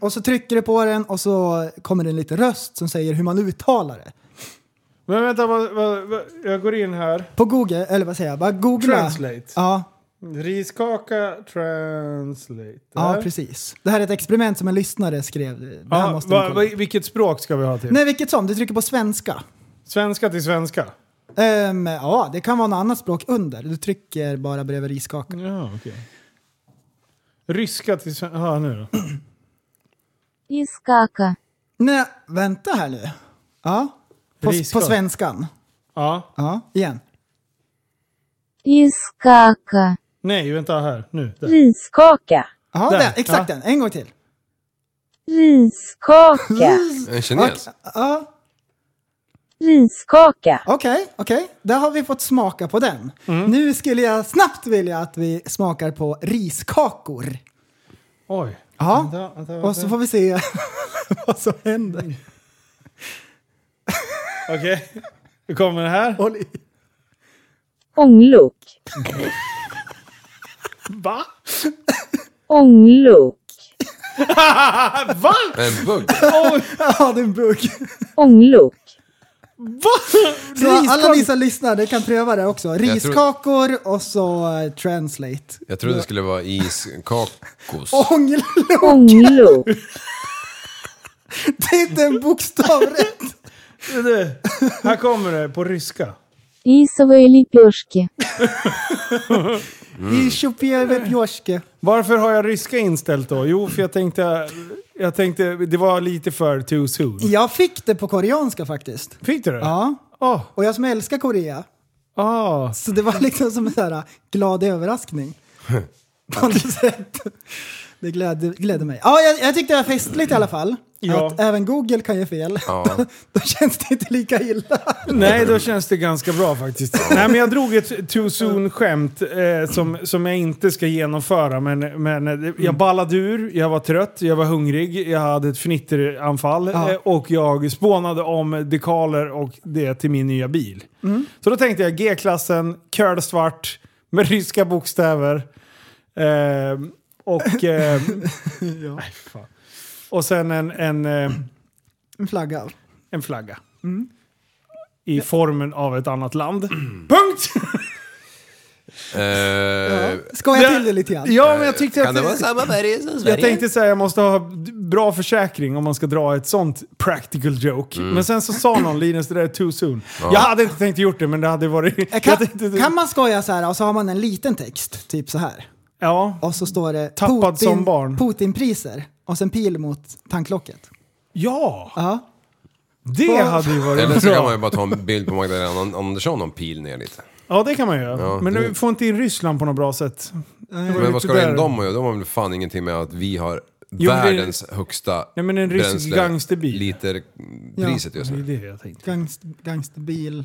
och så trycker du på den och så kommer det en liten röst som säger hur man uttalar det.
Men vänta, vad, vad, vad, jag går in här.
På Google, eller vad säger jag, bara googla.
Translate.
Ja,
Riskaka translate.
ja, precis. Det här är ett experiment som en lyssnare skrev. Det här
Ja,
måste ni
va,
kolla.
va, vilket språk ska vi ha till?
Nej, vilket som. Du trycker på svenska.
Svenska till svenska?
Ehm, ja, det kan vara något annat språk under. Du trycker bara bredvid riskakan.
Ja, okej. Ryska till svenska? Ja, nu då.
Искака.
Nej, vänta här nu. Ja, på, på
Riskak.
svenskan.
Ja.
Ja, igen.
Искака.
Nej, vänta här. Nu. Där.
Рискока.
Ja,
Där,
där, exakt
ja.
den. En gång till.
Рискока.
En kines?
Ja,
Riskaka.
Okej, okej. Där har vi fått smaka på den.
Mm.
Nu skulle jag snabbt vilja att vi smakar på riskakor.
Oj.
Ja,
Vänta, vänta, vänta.
och så får vi se vad som
Mm.
händer.
Okej. Hur kommer det här?
Håll i.
Ånglok.
Va?
Ånglok.
Va?
En bugg.
Ja, det är en bugg.
Ånglok.
Så alla ni som lyssnar, ni kan pröva det också. Riskakor och så eh, translate.
Jag trodde det skulle vara iskakos.
Ånglok,
Ånglok.
det är inte en bokstav rätt.
Du, här kommer det på ryska.
Рисовые лепешки.
Mm.
I Tjopjevepjoske.
Varför har jag ryska inställt då? Jo, för jag tänkte... Jag tänkte det var lite för too soon.
Jag fick det på koreanska faktiskt.
Fick du det?
Ja,
Åh,
och jag som älskar Korea.
ah.
Så det var liksom som en så här glad överraskning. På något sätt. Det glädde, glädde mig. Ja, jag, jag tyckte det var festligt i alla fall.
Ja.
Att även Google kan ge fel. Då, då känns det inte lika illa.
Nej, då känns det ganska bra faktiskt. Nej, men jag drog ett too soon-skämt eh, som, som jag inte ska genomföra. Men, men eh, det- jag ballade ur, jag var trött, jag var hungrig, jag hade ett fnitteranfall
Ja.
eh, och jag spånade om dekaler och det till min nya bil. Så då tänkte jag G-klassen, curlsvart, med ryska bokstäver. Eh, och... Eh, nej, fan. Och sen en, en, eh,
En flagga.
en flagga.
Mm.
I formen av ett annat land. Punkt!
Eh,
Ska jag till det lite grann?
Ja, men jag tyckte
kan det vara
att...
samma färg som
Jag
Sverige?
tänkte säga jag måste ha bra försäkring om man ska dra ett sånt practical joke.
Mm.
Men sen så sa någon Linus, det där är too soon. Jag hade inte tänkt gjort det, men det hade varit...
Eh,
jag
Kan,
tänkte, typ-
kan man skoja så här och så har man en liten text, typ så här.
Ja,
Och så står det
Tappad som barn.
Putinpriser och sen pil mot tanklocket.
ja
Ja.
det hade ju
Eller
varit
så kan man ju
bra.
bara ta en bild på Magdalena Andersson och en pil ner lite.
Ja, det kan man göra.
Ja,
men
det-
du får inte in Ryssland på något bra sätt. Det var
Men
lite
vad ska det
där.
in dem och göra? De har väl fan ingenting med att vi har
det är-
världens högsta
Ja, men en rysk gangsterbil.
literpriset just
Det är
nu.
det jag tänkte.
Gangst, gangsterbil.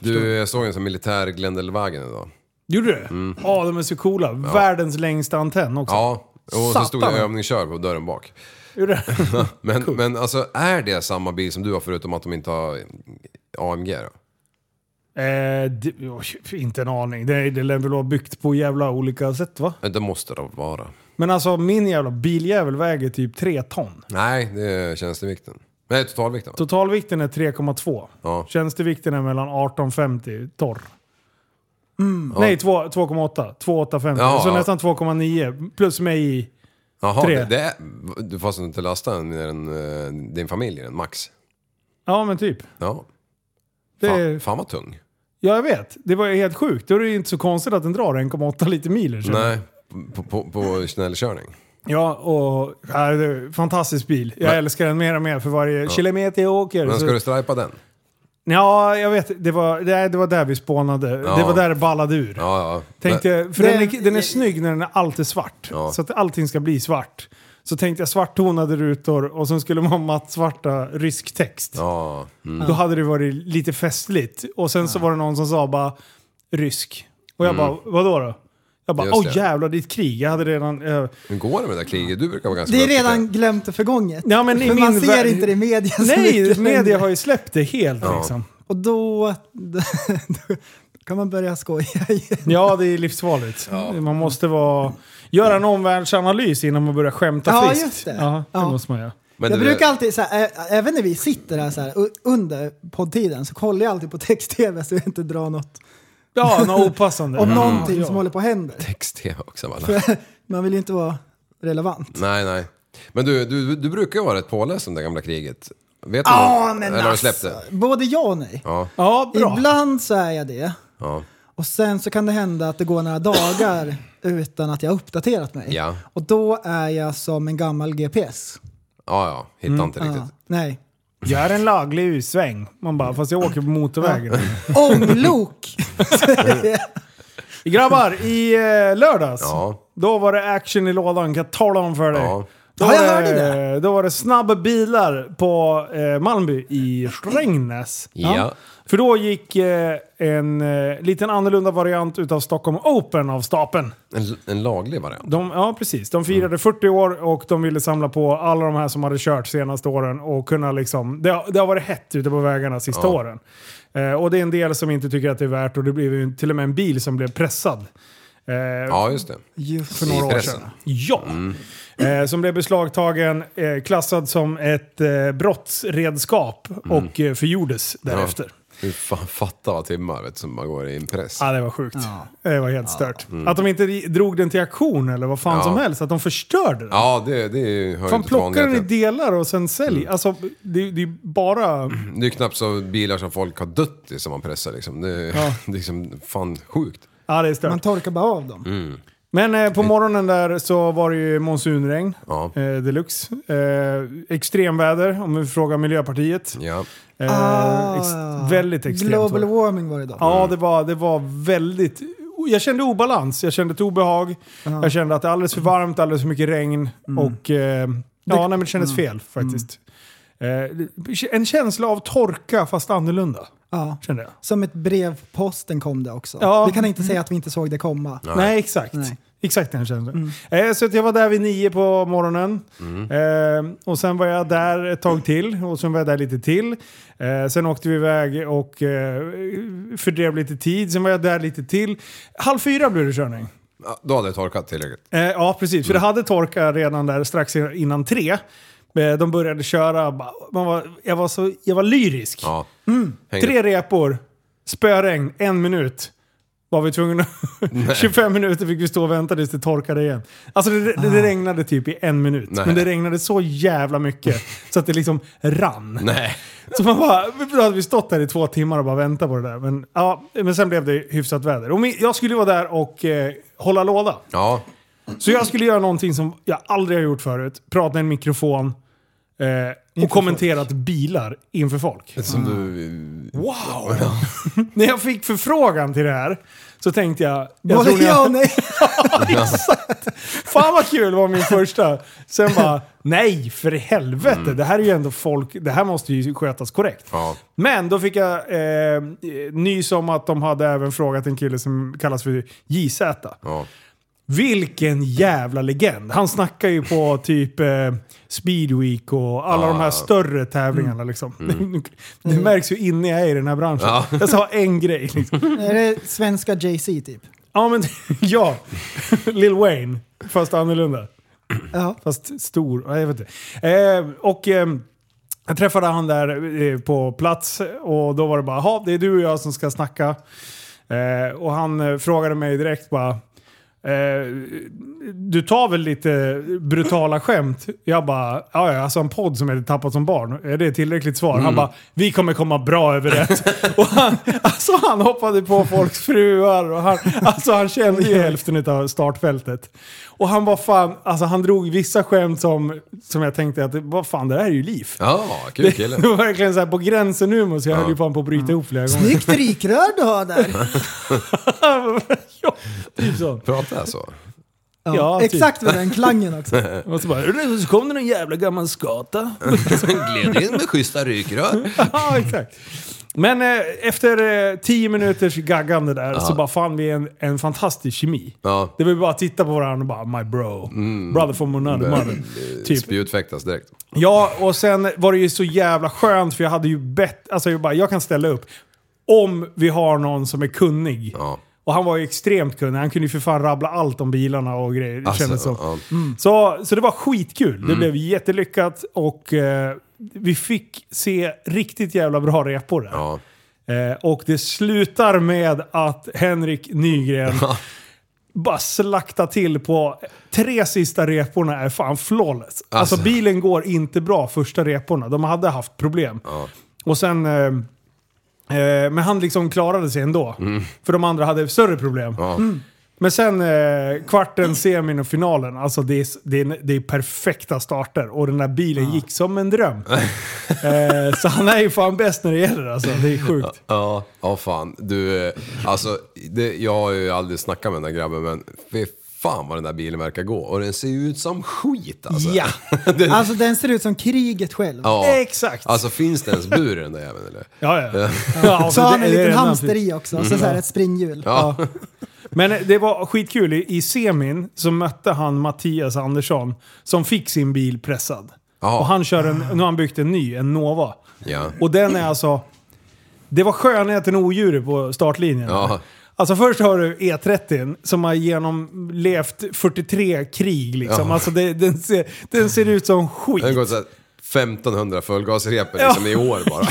Du, jag såg en sån militär Glendelwagen idag.
Gjorde du det? Ja, de är så coola. Världens längsta antenn också.
Mm. Ja, och så stod det
Satan.
övningskör på dörren bak.
Gjorde det?
Men, men alltså är det samma bil som du har förutom att de inte har AMG då?
Eh, det, oj, inte en aning. Det, det lär väl vara byggt på jävla olika sätt va?
Ja, Det måste det vara.
Men alltså min jävla biljävel väger typ 3 ton.
Nej, det är tjänstevikten. Nej, totalvikten. va?
Totalvikten är 3,2.
Ja.
Tjänstevikten är mellan 18,50 torr. Mm. Nej, två- 2,8. 2,850.
Ja,
så
ja.
nästan 2,9. Plus mig i.
Jaha,
tre.
det, det är, du får alltså inte lasta den mer än eh, din familj i den, max.
Ja, men typ.
Ja.
Det är,
Fan, fan vad tung.
Ja, jag vet. Det var ju helt sjukt. Då är det ju inte så konstigt att den drar 1,8 liter miler. känner jag.
Nej, på, på, på snällkörning.
Ja, och ja, det är en fantastisk bil. Jag
Men-
älskar den mer och mer för varje kilometer jag åker.
Men
så-
ska du stripa den?
Ja, jag vet. Det var, det, det var där vi spånade.
Ja.
Det var där det ballade ur.
Ja, ja.
Tänkte,
Men-
jag- för
Det-
den, är, den är snygg när den är alltid svart.
Ja.
Så att allting ska bli svart. Så tänkte jag svarttonade rutor och sen skulle man ha mattsvarta rysk text.
Ja, mm.
Då hade det varit lite festligt. Och sen så var det någon som sa bara rysk. Och jag bara, vadå då? Jag bara,
Mm. Just
åh
det.
jävlar det är ett krig. Jag hade redan... eh,
Men går det med det där kriget? Du brukar vara ganska
Det är
duktig på
redan glömt och förgånget.
Ja, men i
För
min
man ser
värld-
inte det i media så
nej,
mycket längre.
media har ju släppt det helt liksom.
Och då, då kan man börja skoja igen.
Ja, det är livsfarligt. Man måste vara, göra en omvärldsanalys innan man börjar skämta
Ja,
friskt.
just det.
Ja, det
Ja.
måste man göra.
Men
jag
det-
brukar alltid, så här, ä- även när vi sitter här, så här u- under poddtiden så kollar jag alltid på text-tv så jag inte drar något
Ja, något opassande.
om någonting
Mm. Ja.
som håller på att hända.
Text-tv också va?
Man vill ju inte vara relevant.
Nej, nej. Men du, du, du brukar ju vara rätt påläst om det gamla kriget. Vet du
Ja,
det?
men
Eller har du
alltså,
släppt det?
Både ja och nej.
Ja,
Ja, bra.
Ibland så är jag det.
ja.
Och sen så kan det hända att det går några dagar utan att jag har uppdaterat mig.
Ja.
Och då är jag som en gammal GPS.
Ja, ja. Hittar
Mm.
inte
Ja,
riktigt.
nej.
Gör en laglig U-sväng. Man bara, fast jag åker på motorvägen.
Ånglok!
Grabbar, i eh, lördags,
Ja.
då var det action i lådan kan jag tala om för dig.
Ja.
Då
Ja, jag
var
hörde
Då var det snabba bilar på eh, Malmby i Strängnäs.
Ja.
För då gick eh, en eh, liten annorlunda variant utav Stockholm Open av stapeln.
En, en laglig variant.
De, ja, precis. De firade 40 år och de ville samla på alla de här som hade kört senaste åren. Och kunna liksom, det, har- det har varit hett ute på vägarna sista åren. Eh, och det är en del som inte tycker att det är värt och det blev ju till och med en bil som blev pressad. Eh,
Ja, just det.
för några
I
år
pressen. Mm.
sedan. Ja. Eh, som blev beslagtagen, eh, klassad som ett eh, brottsredskap
Mm.
och eh, förgjordes därefter. Ja.
Hur fan fatta vad timmar vet, du, som bara går i en press.
det var sjukt. Det var helt stört. Att de inte drog den till aktion eller vad fan
Mm. Ja.
som helst. Att de förstörde den.
Ja, det, det hör ju
Fan
inte till Mm.
plocka den i
vanligheten.
delar och sen sälj. Alltså det, det är bara...
Det är ju knappt så bilar som folk har dött i som man pressar liksom. Det,
Ja.
det är liksom fan sjukt.
Ja det är stört.
Man torkar bara av dem.
Men eh, på morgonen där så var det ju monsunregn
Mm. Ja.
eh, deluxe. Eh, extremväder om vi frågar Miljöpartiet.
Ja.
Eh, ex- väldigt extremt.
Ah, Global
var det.
warming var det då.
Ja det var, det var väldigt... Jag kände obalans, jag kände ett obehag.
Ah.
Jag kände att det är alldeles för varmt, alldeles för mycket regn.
Mm.
Och eh, ja, nej, men det kändes fel faktiskt. Eh, en känsla av torka fast annorlunda.
Ja.
Kände jag.
Som ett brev på posten kom det också.
Ja.
Vi kan inte säga att vi inte såg det komma.
Nej, exakt.
Nej.
Exakt den känslan. Eh, så att jag var där vid nio på morgonen. Eh, och sen var jag där ett tag till. Och sen var jag där lite till. Eh, sen åkte vi iväg och eh, fördrev lite tid. Sen var jag där lite till. Halv fyra blev det körning.
Ja, Då hade det torkat tillräckligt.
Eh, ja, precis. För det hade torkat redan där strax innan tre. Eh, de började köra. Bara- Man var, jag, var så, jag var lyrisk.
Ja. Hängde-
Mm. Tre repor, spöregn, en minut. Var vi tvungna... 25 minuter fick vi stå och vänta tills det torkade igen. Alltså det, det, det regnade typ i en minut.
Ah. Nej.
Men det regnade så jävla mycket så att det liksom rann.
Nej.
Så man bara, då hade vi stått där i två timmar och bara väntat på det där. Men, ja, men sen blev det hyfsat väder. Och min, jag skulle vara där och eh, hålla låda.
Ja.
Så jag skulle göra någonting som jag aldrig har gjort förut. Prata i en mikrofon eh, och kommenterat bilar inför folk.
Som du...
Wow! När jag fick förfrågan till det här så tänkte jag... jag
Både
tror ni-
ja och nej.
Fan vad kul var min första. Sen bara, nej för helvete. Det här är ju ändå folk, det här måste ju skötas korrekt.
Mm. Ja.
Men då fick jag eh, nys om att de hade även frågat en kille som kallas för JZ.
Ja.
Vilken jävla legend. Han snackar ju på typ eh, Speedweek och alla de
Ah.
här större tävlingarna liksom. Det märks ju inne jag är i den här branschen.
Mm. Ja.
Jag sa en grej liksom.
Är det svenska Jay-Z typ?
Ja, men ja. Lil Wayne. Fast annorlunda.
Ja.
Fast stor. Ja, Jag vet inte. Eh, och eh, jag träffade han där eh, på plats och då var det bara, "Jaha, det är du och jag som ska snacka. Eh, och han eh, frågade mig direkt bara, eh, du tar väl lite brutala skämt? Jag bara, ja ja, alltså en podd som heter Tappat som barn, är det tillräckligt svar? Han bara, vi kommer komma bra överens. och han, alltså han hoppade på folks fruar och han, alltså han kände ju hälften av startfältet. Och han var fan, alltså han drog vissa skämt som, som jag tänkte att, vad fan det här är ju liv.
Ja, Mm. kul
Det,
kille.
var verkligen så här på gränsen nu så jag höll ju fan på att bryta ihop flera gånger.
Snyggt rikrör du har där.
ja, typ så.
Pratar jag så?
Ja,
Ja, typ.
Exakt med den klangen också.
Och så bara, så kom det någon jävla gammal skata.
Gled in med schyssta rykrör.
ja, exakt. Men eh, efter eh, tio minuters gaggande där så bara fann vi en, en fantastisk kemi.
Ja. Mm.
Det var ju bara att titta på varandra och bara my bro. Brother from another mother. Typ.
Spjutfäktas direkt.
Ja, och sen var det ju så jävla skönt för jag hade ju bett, alltså jag bara, jag kan ställa upp. Om vi har någon som är kunnig.
Ja.
Och han var ju extremt kunnig, han kunde ju för fan rabbla allt om bilarna och grejer.
Alltså,
kändes som.
ja. Mm.
Så, så det var skitkul, det blev jättelyckat och eh, vi fick se riktigt jävla bra repor där.
Ja.
Eh, och det slutar med att Henrik Nygren bara slaktar till på tre sista reporna är fan flawless. Alltså,
Alltså.
bilen går inte bra första reporna. De hade haft problem. Och sen... Eh, eh, men han liksom klarade sig ändå. För de andra hade större problem.
Mm.
Mm.
Ja.
Men sen eh, kvarten, semin och finalen. Alltså det är, det, är, det är perfekta starter och den där bilen gick som en dröm. eh, så han är ju fan bäst när det gäller alltså. Det är sjukt.
Ja, ja fan. Du, eh, alltså, det, jag har ju aldrig snackat med den där grabben men fy fan vad den där bilen verkar gå. Och den ser ju ut som skit alltså.
Ja.
den,
Alltså den ser ut som kriget själv.
ja.
Exakt.
Alltså finns det ens bur i den där jäveln eller?
Ja, ja. ja
Så har han en liten
redan
hamster
fint.
i också, så, så här ett springhjul.
Mm. Ja.
Men det var skitkul. I, I semin så mötte han Mattias Andersson som fick sin bil pressad.
Jaha.
Och han kör en, nu har han byggt en ny, en Nova.
Ja.
Och den är alltså... Det var skönheten och odjuret på startlinjen.
Ja.
Alltså först har du E30 som har genomlevt 43 krig liksom.
Ja.
Alltså det, den, ser, den ser ut som skit.
Den har gått såhär 1500 fullgasrepor
Ja.
liksom i år bara.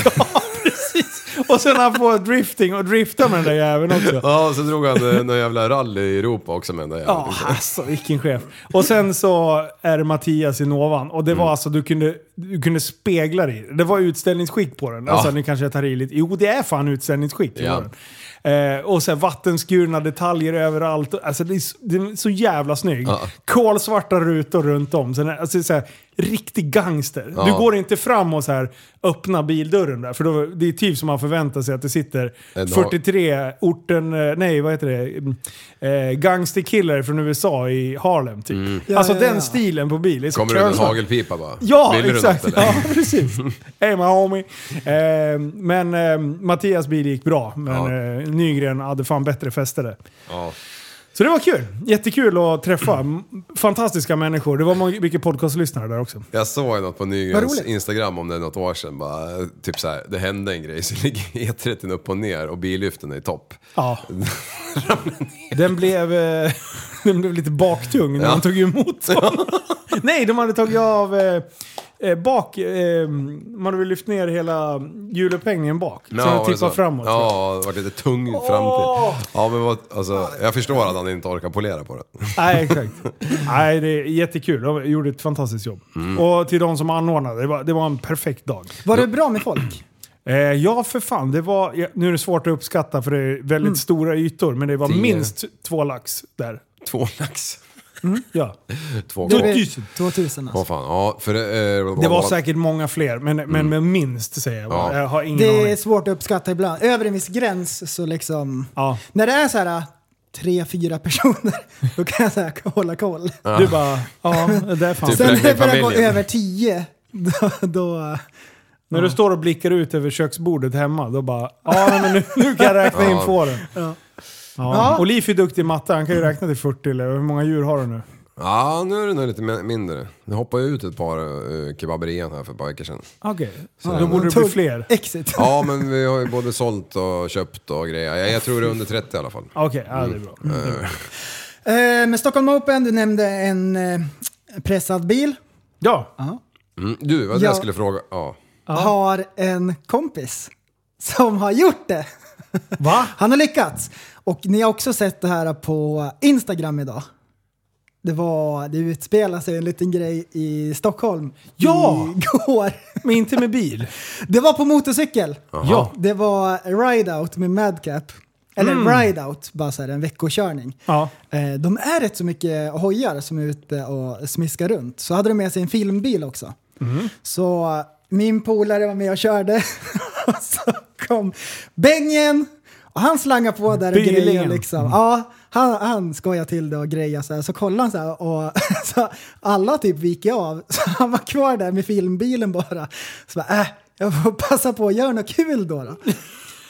Precis. Och sen han får drifting och drifta med den där jäveln också.
Ja, och så drog han eh, någon jävla rally i Europa också med den där jäveln.
Ja, alltså vilken chef. Och sen så är det Mattias i Novan. Och det
Mm.
var alltså, du kunde, du kunde spegla dig. Det var utställningsskick på den. Alltså
Ja.
nu kanske jag tar i lite. Jo, det är fan utställningsskick på
Ja.
den. Eh, och sen vattenskurna detaljer överallt. Alltså det är, så- den är så jävla snygg.
Ja.
Kolsvarta rutor runt om. Sen, är- alltså, det är så här, riktig gangster. Du
Ja.
går inte fram och så här öppna bildörren där. För då, det är typ som man förväntar sig att det sitter
En ha-
43 orten, eh, nej vad heter det, Mm, eh, gangsterkiller från USA i Harlem typ. Alltså
Ja, ja,
den
ja.
stilen på bil. är så
Mm. Kommer du med en
kölsvart.
hagelpipa bara?
Ja,
Vill du något,
exakt.
eller?
Ja, precis. Hey my homie. Eh, men eh, Mattias bil gick bra, men
Ja.
eh, Nygren hade fan bättre fäste
Ja.
Så det var kul. Jättekul att träffa m- fantastiska människor. Det var många- mycket podcastlyssnare där också.
Jag såg ju något på Nygrens
roligt.
Instagram om det är något år sedan. Bara, typ så här, det hände en grej, så ligger E30 upp och ner och billyften är i topp.
Ja. Den blev, eh, den blev lite baktung när de tog emot dem. Nej, de hade tagit av eh, eh, bak... Eh, man hade väl lyft ner hela hjulupphängningen bak.
Ja,
så
var
den
det
tippade
så?
framåt. tror jag.
Ja, det varit lite tung
Åh!
framtid. Ja, men vad, alltså, jag förstår att han inte orkar polera på det.
Nej, exakt. Nej, det är jättekul. De gjorde ett fantastiskt jobb.
Mm.
Och till de som anordnade, det var, det var en perfekt dag.
Var det bra med folk?
Eh, ja, för fan. Det var, ja, nu är det svårt att uppskatta för det är väldigt stora ytor, men det var
Mm. Tio.
minst två lax där.
Två lax.
Ja.
Två
Det
gånger.
var-
2000.
2000 alltså.
Åh fan, ja. För, eh,
Det var säkert många fler, men, men, men minst säger jag.
Mm. Ja.
Jag har ingen
Det
aning.
är svårt att uppskatta ibland. Över en viss gräns så liksom...
Ja.
När det är så här äh, tre, fyra personer, då kan jag så här, hålla koll.
Du bara, ja, det där fan.
Typ.
Sen
räkna
när
i
det börjar gå
familjen.
över tio, då... då
När du står och blickar ut över köksbordet hemma, då bara, ja nej, men nu, nu kan jag räkna in
Ja.
fåren. Ja. Ja. Och Liv är duktig i matte, han kan ju räkna till 40 eller hur många djur har du nu?
Ja, nu är det nog lite mi- mindre. Nu hoppade jag ut ett par eh, kebaberian här för ett par veckor sedan.
Okej,
Ja.
då borde det bli
Tull-
fler.
Exit.
Ja, men vi har ju både sålt och köpt och grejer. Jag, jag tror det är under 30 i alla fall.
Okej, ja, det är bra.
Mm.
Eh, men Stockholm Open, du nämnde en eh, pressad bil.
Ja,
Mm. Du, vad det
Ja.
jag skulle fråga. Ja.
Har en kompis som har gjort det.
va?
Han har lyckats. Och ni har också sett det här på Instagram idag. Det var, det utspelade sig en liten grej i Stockholm
Ja!
igår.
Men inte med bil?
Det var på motorcykel.
Ja. Mm.
Det var ride-out med Madcap. Eller ride-out, bara så här en veckokörning.
Ja.
Eh, De är rätt så mycket hojar som är ute och smiskar runt. Så hade de med sig en filmbil också. Så eh, min polare var med och körde. och så kom Bengen och han slangade på där och
Bengen.
grejade liksom. Ja, han, han skojade till det och grejade så här. Så kollade han så här och så alla typ viker av. Så han var kvar där med filmbilen bara. Så bara, äh, jag får passa på att göra något kul då. då.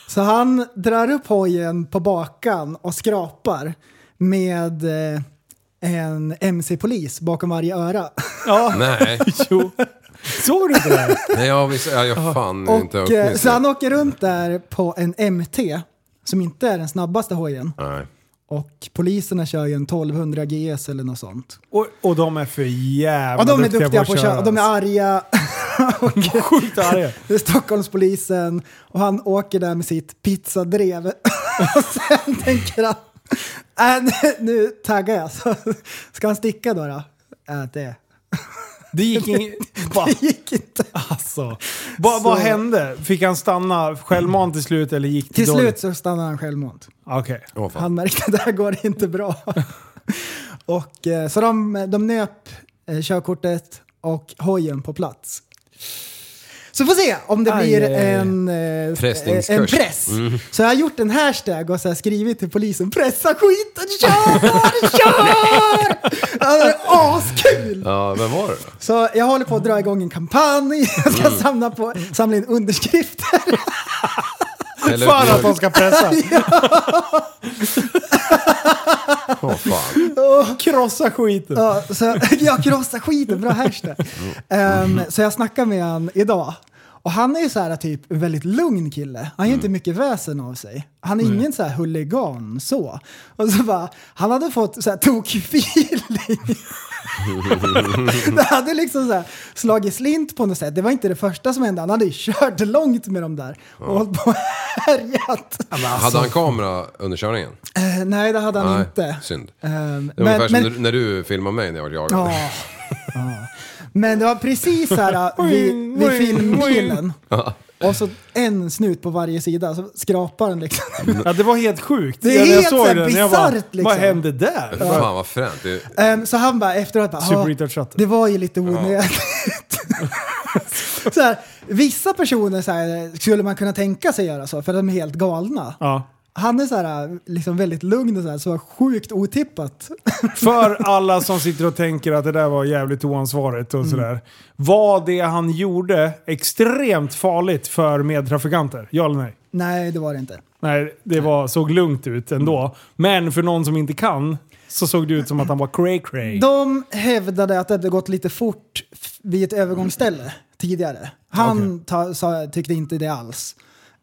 Så han drar upp hojen på bakan och skrapar med eh, en MC-polis bakom varje öra.
Nej.
Jo. Såg du inte det? här?
Nej, jag har jag, jag fan inte
Och, eh,
uppnäst
så
det.
han åker runt där på en MT som inte är den snabbaste hojen.
Nej.
Och poliserna kör ju en 1200 GS eller något sånt.
Och, och de är för jävla
Och de är duktiga på att köra. Och de är arga.
alltså. sjukt arga.
Det är Stockholmspolisen och han åker där med sitt pizzadrev. och sen tänker han, äh, nu, nu taggar jag. Så, ska han sticka då? då? Äh, det
Det gick in... Va?
gick inte.
Alltså. Vad- vad
Så-
hände? Fick han stanna självmant till slut eller gick det
Till
dåligt?
slut så stannar han självmant.
Okej.
Åh, fan.
Han märkte att det här går inte bra. och, eh, så de, de nöp eh, körkortet och hojen på plats. Så får se om det
Aj,
blir
aj, aj.
en, eh,
Pressningskurs.
en press. Så jag har gjort en hashtag och så här skrivit till polisen. Pressa skiten, kör, kör! Ja, det är askul!
Ja, vem var det då?
Så jag håller på att dra igång en kampanj. Jag ska samla, på, samla in underskrifter.
Eller-
Fan att de ska pressa.
Åh, fan.
Krossa skiten.
Ja, så jag krossar skiten, bra hashtag. Ehm, så jag snackade med han idag. Och han är ju så här typ en väldigt lugn kille. Han gör
Mm.
inte mycket väsen av sig. Han är ingen så här huligan så. Och så bara, han hade fått så här tokfeeling. det hade liksom så här slagit slint på något sätt. Det var inte det första som hände. Han hade ju kört långt med dem där och hållit på och härjat.
Hade han kamera under körningen?
Eh, nej, det hade han
Nej,
inte.
synd.
Ehm,
Det var ungefär som när du filmade mig när jag var jagad.
Ja. ja. Men det var precis så här äh, vid, vid filmbilen. Och så en snut på varje sida, så skrapar den liksom.
Ja, det var helt sjukt.
Det
Ja,
är helt
såg
så här
den, jag bara,
bisarrt, liksom.
Vad hände där?
Fan vad fränt. Det,
Ehm, så han bara efteråt bara,
Super
"Ja,
Retard Shutter."
det var ju lite onödigt. så här, vissa personer så här, skulle man kunna tänka sig göra så, för de är helt galna.
Ja.
Han är så här, äh, liksom väldigt lugn och så, här, så sjukt otippat.
För alla som sitter och tänker att det där var jävligt oansvarigt
Mm.
och sådär. Var det han gjorde extremt farligt för medtrafikanter? Ja eller nej?
Nej, det var det inte.
Nej, det var, såg lugnt ut
Mm.
ändå. Men för någon som inte kan så såg det ut som att han var cray cray.
De hävdade att det hade gått lite fort f- vid ett övergångsställe tidigare. Han ta, sa, tyckte inte det alls.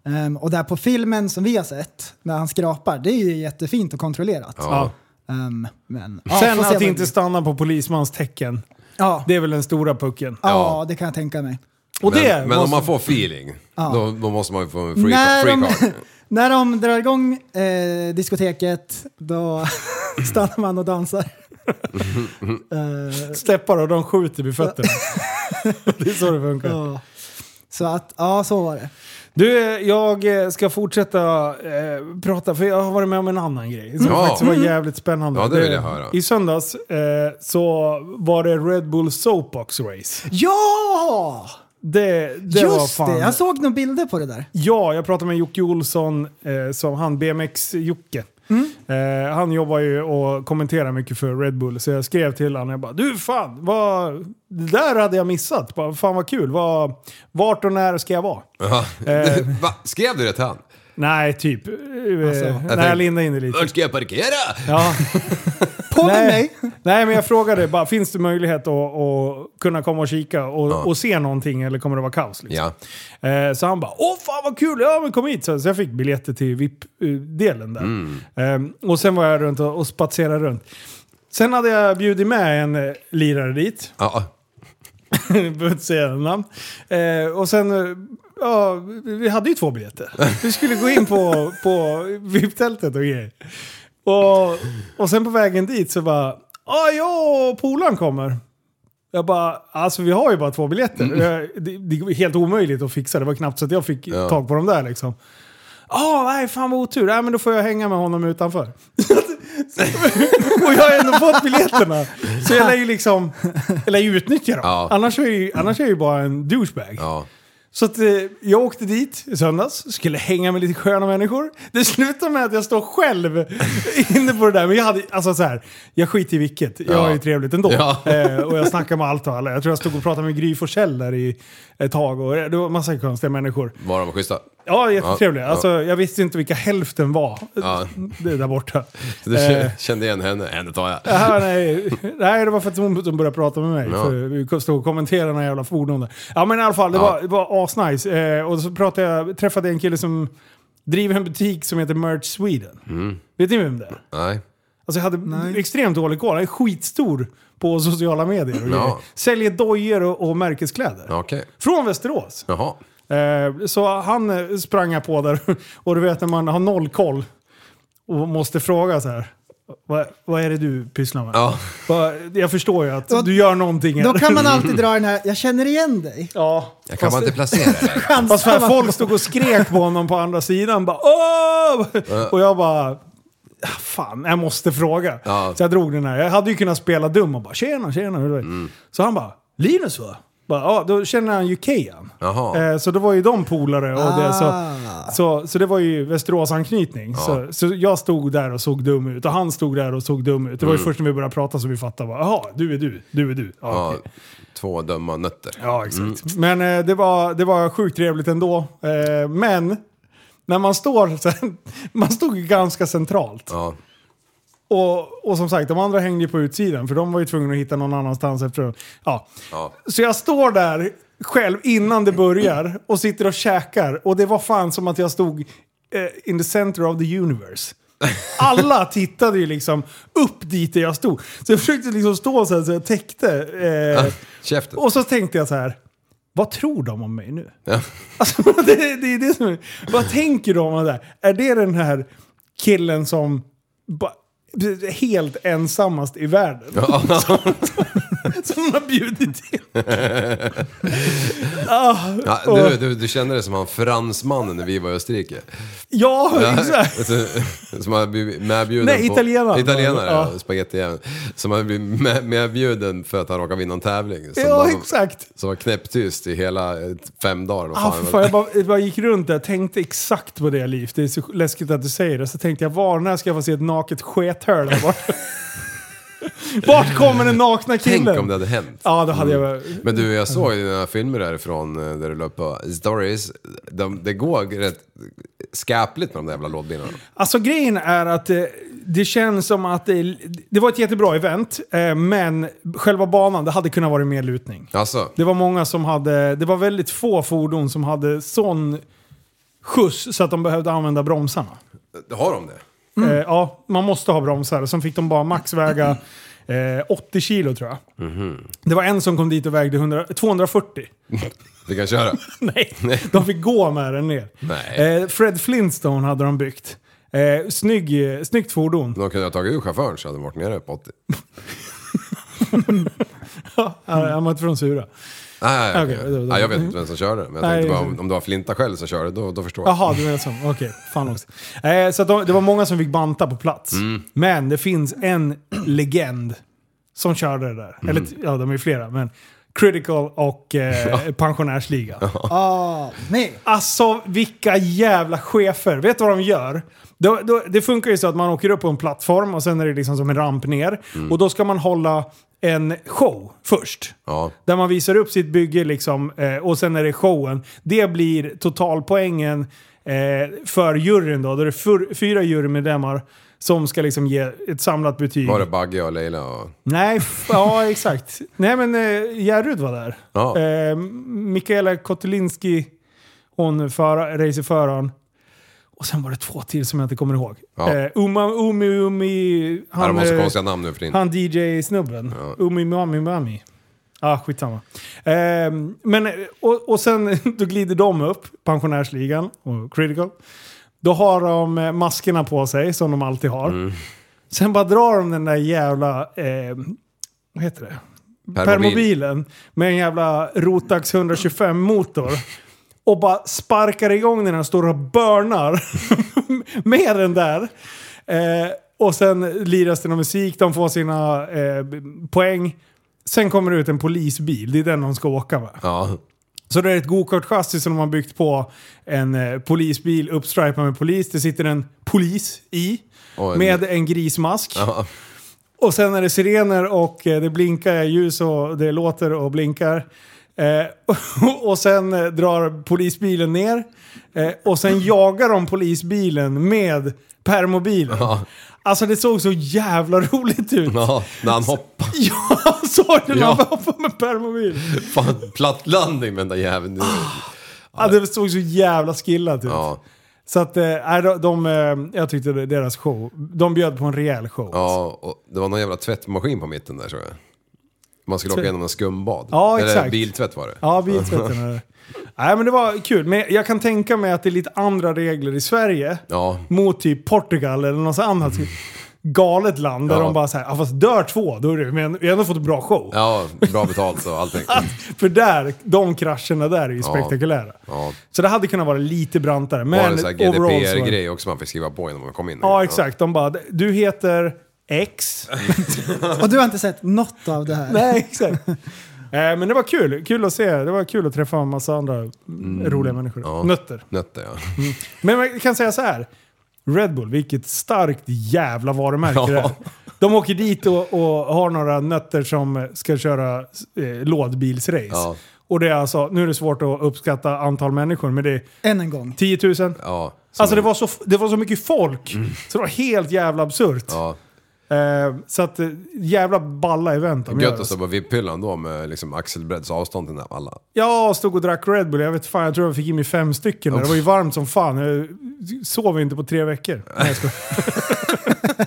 Ehm, och där på filmen som vi har sett, när han skrapar, det är ju jättefint och kontrollerat.
Ja.
Ehm, men,
Sen
får se
att
vad
inte
det-
stanna på polismans tecken.
ja,
Det är väl den stora pucken.
ja, det kan jag tänka mig.
Och
men
det
men
var
om man
så-
får feeling, då, då måste man ju få en free,
När
free
de,
card.
när de drar igång eh, diskoteket, då stannar man och dansar. Ehm,
steppar och de skjuter vid fötterna. det är så det funkar.
ja. Så att, ja så var det.
Du, eh, jag eh, ska fortsätta eh, prata, för jag har varit med om en annan grej som
Ja. Mm.
faktiskt var jävligt spännande.
Ja, det vill jag höra.
I söndags eh, så var det Red Bull Soapbox Race.
Ja!
Det, det var
Just
fan...
det, jag såg några bilder på det där.
Ja, jag pratade med Jocke Olsson, eh, som han BMX-Jocke.
Mm.
Eh, han jobbar ju och kommenterar mycket för Red Bull, så jag skrev till honom. Jag bara, du fan, vad, det där hade jag missat. Bara, fan vad kul. Vad, vart och när ska jag vara?
Eh.
Va? Skrev du det till han?
Nej, typ. Eh,
Alltså, jag
när
tänkte-
jag lindade in det lite.
Vart ska jag parkera?
Ja.
På med
Nej,
mig!
nej, men jag frågade bara, finns det möjlighet att, att kunna komma och kika och, och se någonting eller kommer det vara kaos? Liksom?
Ja.
Eh, Så han bara “Åh fan vad kul, ja men kom hit!” Så så jag fick biljetter till VIP-delen där. Eh, Och sen var jag runt och och spatserade runt. Sen hade jag bjudit med en eh, lirare dit,
ja.
behöver inte säga något namn. Eh, Och sen, eh, ja, vi hade ju två biljetter. Vi skulle gå in på, på VIP-tältet och grejer. Och, och sen på vägen dit så bara "Ah, “Ja, jag och polaren kommer”. Jag bara, alltså vi har ju bara två biljetter. Jag- Det, det är helt omöjligt att fixa. Det var knappt så att jag fick tag på dem där liksom. Ja, nej fan vad otur. Nej men då får jag hänga med honom utanför. och jag har ändå fått biljetterna. Så jag lär ju liksom, jag lär ju utnyttja dem.
Ja.
Annars, är jag ju, annars är jag ju bara en douchebag.
ja.
Så att, eh, jag åkte dit i söndags, skulle hänga med lite sköna människor. Det slutade med att jag står själv inne på det där. Men jag hade, alltså så här, jag skiter i vilket. Jag
Ja.
har ju trevligt ändå.
Ja.
Eh, och jag snackar med allt och alla. Jag tror jag stod och pratade med Gry Forssell där i ett tag. Och det var massa konstiga människor.
Var de schyssta?
Ja, jättetrevliga.
Ja.
Alltså, jag visste inte vilka hälften var
Ja.
det där borta.
Så du
Eh.
kände igen henne? Henne tar jag.
Ja, nej. nej, det var för att hon som började prata med mig.
Ja.
För vi stod och kommenterade några jävla fordon där. Ja men i alla fall, det
Ja.
var, det var asnice. Eh, och så pratade jag, träffade jag en kille som driver en butik som heter Merch Sweden.
Mm.
Vet ni vem det är?
Nej.
Alltså jag hade extremt dålig koll. Han är skitstor på sociala medier. Och
Ja.
grejer. Säljer dojor och, och märkeskläder.
Okej.
Från Västerås.
Jaha.
Eh, Så han eh, sprang jag på där och du vet när man har noll koll och måste fråga så här. Vad, vad är det du pysslar med?
Ja.
Va- Jag förstår ju att
Då-
du gör någonting.
Då
här.
kan man alltid dra den här, jag känner igen dig.
Ja.
Jag kan bara inte placera dig.
Fast för att folk stod och skrek på honom på andra sidan. Bara, Åh! Och jag bara... "Ah, Fan, jag måste fråga.
Ja. Mm.
Så jag drog den här. Jag hade ju kunnat spela dum och bara “tjena, tjena”. hur är det?" Så han bara “Linus va?” Bara, ja, då känner han ju Kejan.
Jaha.
Eh, så då var ju de polare och det. Så,
Ah.
så, så det var ju Västerås-anknytning. Så, så jag stod där och såg dum ut och han stod där och såg dum ut. Det var ju först när vi började prata som vi fattade. bara, Jaha, du är du, du är du. Ja,
Mm. Ja,
okej.
två döma nötter.
Ja, exakt. Men eh, det, var, det var sjukt trevligt ändå. Eh, men när man står, sen, man stod ju ganska centralt.
Ja.
Och, och som sagt, de andra hängde ju på utsidan för de var ju tvungna att hitta någon annanstans efter. Ja.
Ja.
Så jag står där själv innan det börjar och sitter och käkar och det var fan som att jag stod eh, in the center of the universe. Alla tittade ju liksom upp dit där jag stod. Så jag försökte liksom stå så här så jag täckte. Eh,
Käften.
och så tänkte jag så här. Vad tror de om mig nu? Alltså, det, det är det som är, Vad tänker de om det här? Är det den här killen som ba, helt ensammast i världen? som de har bjudit in. ah,
Ja,
och,
du, du, du kände det som han fransmannen när vi var i Österrike.
ja, exakt.
Alltså, som hade blivit medbjuden
Nej,
på...
italienaren.
Italienare, ja.
Ja.
Spagettijäveln. Som hade blivit med, medbjuden för att han råkade vinna en tävling. Som
Ja,
var,
exakt.
Som var knäpptyst i hela eh, fem dagar. vad
Ah,
fan
för
det
fan,
var.
jag, bara, jag bara gick runt där och tänkte exakt på det, Liv. Det är så läskigt att du säger det. Så tänkte jag, var när ska jag få se ett naket skethörn där borta? Vart kommer den nakna killen?
Tänk om det hade hänt.
Ja, då hade jag...
Men du, jag såg ju dina filmer därifrån eh, där du la upp på stories. De, det går rätt skapligt med de där jävla lådbilarna.
Alltså grejen är att eh, det känns som att det, det var ett jättebra event, eh, men själva banan, det hade kunnat vara mer lutning.
Alltså,
Det var många som hade, det var väldigt få fordon som hade sån skjuts så att de behövde använda bromsarna.
har de det?
Eh, ja, man måste ha bromsar. Sen fick de bara max väga eh, 80 kilo tror jag. Det var en som kom dit och vägde 100, 240.
Vi kan köra.
Nej, de fick gå med den ner.
Nej.
Eh, Fred Flintstone hade de byggt. Eh, snygg, eh, snyggt fordon.
De kunde ha tagit ur chauffören så hade de varit nere på 80.
Han han var inte från Sura.
Nej, nej,
Okej,
nej.
då- då-
nej, jag vet inte vem som körde. Men jag
Nej,
tänkte bara om,
exakt.
om det var Flinta själv som körde, då, då förstår jag.
Jaha, du menar så. Okej, fan också. Eh, så att de, det var många som fick banta på plats. Men det finns en legend som körde det där. Eller t- ja, de är ju flera. Men Critical och eh, Pensionärsligan.
Ah, nej.
Alltså vilka jävla chefer. Vet du vad de gör? Då, då, det funkar ju så att man åker upp på en plattform och sen är det liksom som en ramp ner. Och då ska man hålla en show först.
Ja.
Där man visar upp sitt bygge liksom, eh, och sen är det showen. Det blir totalpoängen eh, för juryn då. Då är det fyr, fyra jurymedlemmar som ska liksom ge ett samlat betyg.
Var det Bagge och Leila och...
Nej, f- ja exakt. Nej men eh, Järryd var där.
Ja.
Eh, Mikaela Kotelinski, hon föra, racerföraren. Och sen var det två till som jag inte kommer ihåg.
Ja.
Eh, Uma, Umi Umi,
Ja, de
han,
har så
eh,
konstiga namn nu för din.
han DJ-snubben. Umi Mami Mami. Ah, skitsamma. Eh, men, eh, och, och sen då glider de upp, pensionärsligan och critical. Då har de eh, maskerna på sig som de alltid har. Sen bara drar de den där jävla, eh, vad heter det?
Permobil.
Permobilen med en jävla Rotax 125-motor. Och bara sparkar igång den här stora börnar med den där. Eh, och sen liras det någon musik, de får sina eh, poäng. Sen kommer det ut en polisbil, det är den de ska åka med.
Ja.
Så det är ett gokart-chassi som de har byggt på en eh, polisbil uppstripad med polis. Det sitter en polis i
Och en-
med en grismask.
Ja.
Och sen är det sirener och eh, det blinkar ljus och det låter och blinkar. Eh, och sen eh, drar polisbilen ner. Eh, och sen jagar de polisbilen med permobilen. Alltså det såg så jävla roligt ut.
ja, när han hoppar.
Jag såg det när
Ja.
man hoppade med permobil.
Fan, platt landning med den där jäveln.
Ja, det såg så jävla skillat ut.
Ja.
Så att, äh, de, de, eh, jag tyckte det- deras show, de bjöd på en rejäl show.
Ja, och det var någon jävla tvättmaskin på mitten där tror jag. Man skulle åka igenom en skumbad.
Ja,
Eller
exakt.
biltvätt var det.
Ja, biltvätten är det. Nej, men det var kul. Men jag kan tänka mig att det är lite andra regler i Sverige
Ja.
mot typ Portugal eller något annat galet land där
Ja.
de bara säger ah, fast dör två, då är det, men vi har ändå fått en bra show.
Ja, bra betalt och allting.
För där, de krascherna där är ju spektakulära.
Ja.
Så det hade kunnat vara lite brantare. Men
Var det en sån här
overall så var det-
GDPR-grej också man fick skriva på innan man kom in?
Ja, exakt. De bara, du heter X.
Och du har inte sett något av det här?
Nej, exakt. Eh, Eh, men det var kul. Kul att se. Det var kul att träffa en massa andra roliga människor.
Mm. Ja.
Nötter.
Nötter ja.
Men jag kan säga så här. Red Bull, vilket starkt jävla varumärke
Ja.
det är. De åker dit och, och har några nötter som ska köra eh, lådbilsrace.
Ja.
Och det är alltså, nu är det svårt att uppskatta antal människor, men det är
Än en gång.
10 000.
ja så-
Alltså det var, så, det var så mycket folk, så det var helt jävla absurt.
Ja,
Eh, så att eh, jävla balla event. de gör,
gött att
alltså.
stå på VIP-hyllan då med liksom axelbredds avstånd till alla.
Jag stod och drack Red Bull, jag vet fan, jag tror jag fick i mig fem stycken. där. Det var ju varmt som fan. Jag sov inte på tre veckor. Nej, jag skojar. jag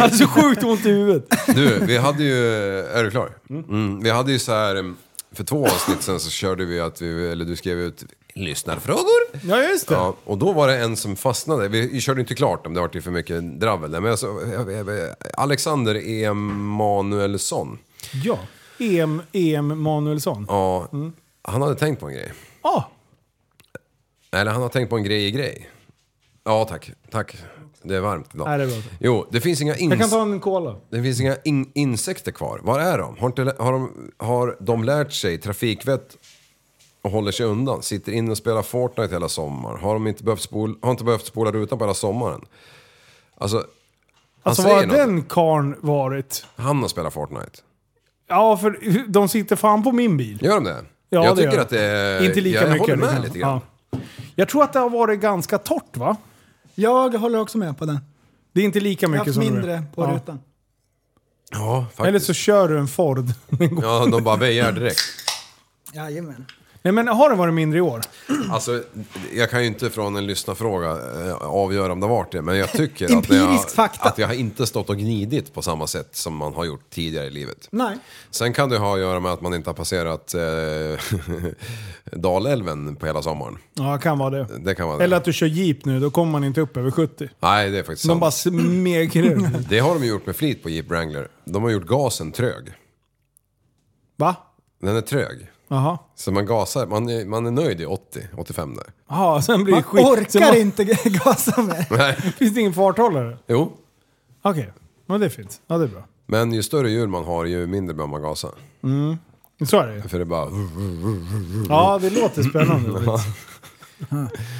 Alltså,
hade så sjukt ont i huvudet.
Du, vi hade ju... Är du klar? Mm, vi hade ju så här... För två avsnitt sen så körde vi att vi... Eller du skrev ut lyssnarfrågor.
Ja, just det.
Ja, och då var det en som fastnade. Vi körde inte klart om det var till för mycket dravel där. Men alltså, Alexander Emanuelsson.
Ja. EM, EM Manuelsson.
Ja, han hade tänkt på en grej.
Ah,
Eller han har tänkt på en grej i grej. Ja, tack. Tack. Det är varmt idag.
Nej, det är bra.
Jo, det finns inga,
jag kan
ins-
ta en cola.
det finns inga in- insekter kvar. Var är de? Har, inte, lä- har, de, har de lärt sig trafikvett och håller sig undan? Sitter inne och spelar Fortnite hela sommaren? Har de inte behövt spola, har inte behövt spola rutan på hela sommaren? Alltså, han
Alltså vad
säger
har
något.
den karn varit?
Han har spelat Fortnite.
Ja, för de sitter fan på min bil.
Gör de det?
Ja,
jag
det
tycker
gör
att det är...
inte lika
jag
mycket.
håller med
liksom.
lite grann.
Ja. Jag tror att det har varit ganska torrt va?
Jag håller också med på den.
Det är inte lika
Jag har
mycket
haft
som det
mindre på
Ja.
rutan.
Ja, faktiskt.
Eller så kör du en Ford.
Ja, de bara väjar direkt.
Jajamän.
Nej men har det varit mindre i år?
Alltså, jag kan ju inte från en lyssnarfråga eh, avgöra om det har varit det, men jag tycker att, jag,
Empirisk fakta.
att jag har inte stått och gnidit på samma sätt som man har gjort tidigare i livet.
Nej.
Sen kan det ha att göra med att man inte har passerat eh, Dalälven på hela sommaren.
Ja, det kan vara det.
Det kan vara det.
Eller att du kör Jeep nu, då kommer man inte upp över 70.
Nej, det är faktiskt
De
sant.
bara smeker ur.
Det har de ju gjort med flit på Jeep Wrangler. De har gjort gasen trög.
Va?
Den är trög.
Jaha.
Så man gasar, man är, man är nöjd i 80-85 där.
Jaha, sen blir
Man
det skit. sen
orkar
man-
inte gasa mer.
Nej.
Finns det ingen farthållare?
Jo,
Okej, men det är fint. Ja, det är bra.
men ju större hjul man har ju mindre behöver man gasa.
Så är det ju.
För det är bara...
Ja, det låter spännande.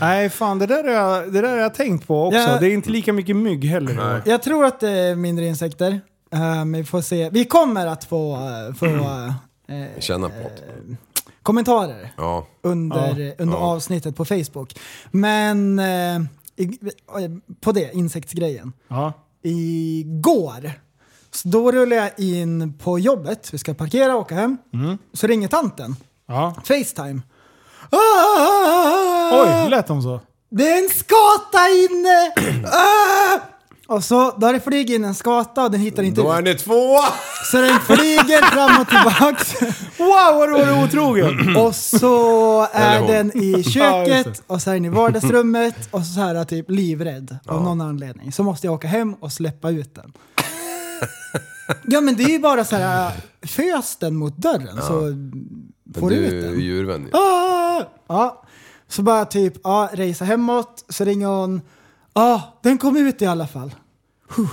Nej, fan det där har jag, det där har jag tänkt på också.
Ja.
Det är inte lika mycket mygg heller.
Jag tror att det är mindre insekter. Eh, men vi får se. Vi kommer att få, eh, få eh, eh,
Känna på något.
kommentarer
Ja.
under, eh, under
Ja.
avsnittet på Facebook. Men eh, i- eh, på det, insektsgrejen.
Ja.
Igår, så då rullar jag in på jobbet. Vi ska parkera och åka hem.
Mm.
Så ringer tanten.
ja.
Facetime. Ah!
Oj, lät de så?
Det är en skata inne! ah! Och så, då har det flugit in en skata och den hittar inte
Då är
ut.
ni två!
Så den flyger fram och tillbaks.
Wow, vad du var otrogen!
Och så
Eller
är
hon.
den i
Ja, just
köket och så är den i vardagsrummet och så här typ livrädd av någon anledning. Så måste jag åka hem och släppa ut den. Ja men det är ju bara så här, fös den mot dörren så får du
Du
ut
är
den.
djurvän ju.
Ah! Ja. Så bara typ, ja, resa hemåt, så ringer hon. Ja, den kom ut i alla fall. Huh.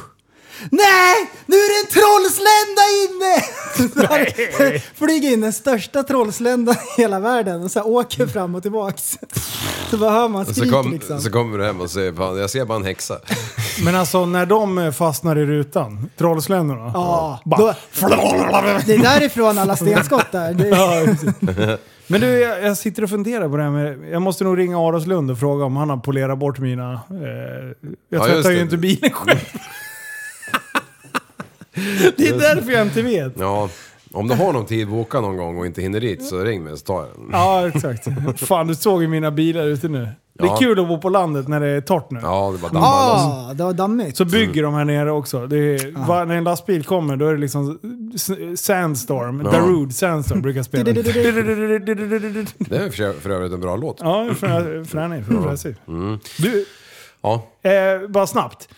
Nej, nu är det en trollslända inne! Så här, Flyger in den största trollsländan i hela världen och så här åker fram och tillbaks. Så bara hör man
Och Så,
skrik
kom,
liksom.
så kommer du hem och säger fan, jag ser bara en häxa.
Men alltså när de eh, fastnar i rutan, trollsländorna.
Ja,
Bara-
Ah, då, det är därifrån alla stenskott där. Det,
Ja, precis. Men du, jag, jag sitter och funderar på det här med... Jag måste nog ringa Aros Lund och fråga om han har polerat bort mina... Eh, jag
Ja, just
tvättar
det.
ju inte bilen själv. det är därför jag inte vet.
Ja, om du har någon tid boka någon gång och inte hinner dit så ring mig så tar jag den.
Ja, exakt. Fan, du såg ju mina bilar ute nu. Det
Ja.
är kul att bo på landet när det är torrt nu.
Ja, det var dammar loss.
ah, det var dammigt.
Så bygger de här nere också. Det är, va, när en lastbil kommer då är det liksom s- Sandstorm,
Ja.
Darude Sandstorm brukar spela.
Det är för, för övrigt en bra låt.
Ja, frän- fränig. Progressiv.
Mm.
Du,
Ja,
eh, bara snabbt.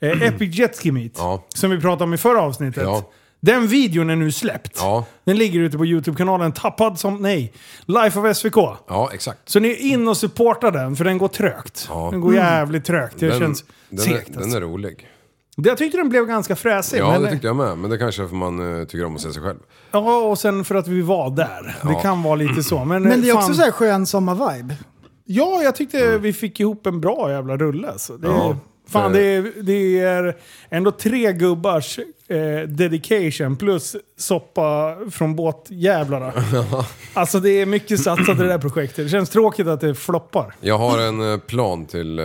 Eh, Epic Jet Ski Meet,
Mm. Ja.
som vi pratade om i förra avsnittet.
Ja.
Den videon är nu släppt.
ja,
Den ligger ute på YouTube-kanalen Tappad som... Nej. Life of SVK.
ja exakt.
Så ni är in och supportar den, för den går trögt.
Ja. Mm.
Den går jävligt trögt. Det
Den,
känns
den, är,
segt.
den
Alltså.
är rolig.
Jag tyckte den blev ganska fräsig.
Ja,
men-
det tyckte jag med. Men det kanske är för man eh, tycker om att se sig själv.
ja, och sen för att vi var där. Det
Ja.
kan vara lite så. Men, eh,
Men det är
fan-
också så här skön sommar-vibe.
Ja, jag tyckte vi fick ihop en bra jävla rulle. Så det,
Mm. Ja.
fan,
Det-
det, är, det är ändå tre gubbars eh, dedication plus soppa från båtjävlarna. alltså det är mycket satsat i det där projektet. Det känns tråkigt att det floppar.
Jag har en eh, plan till eh,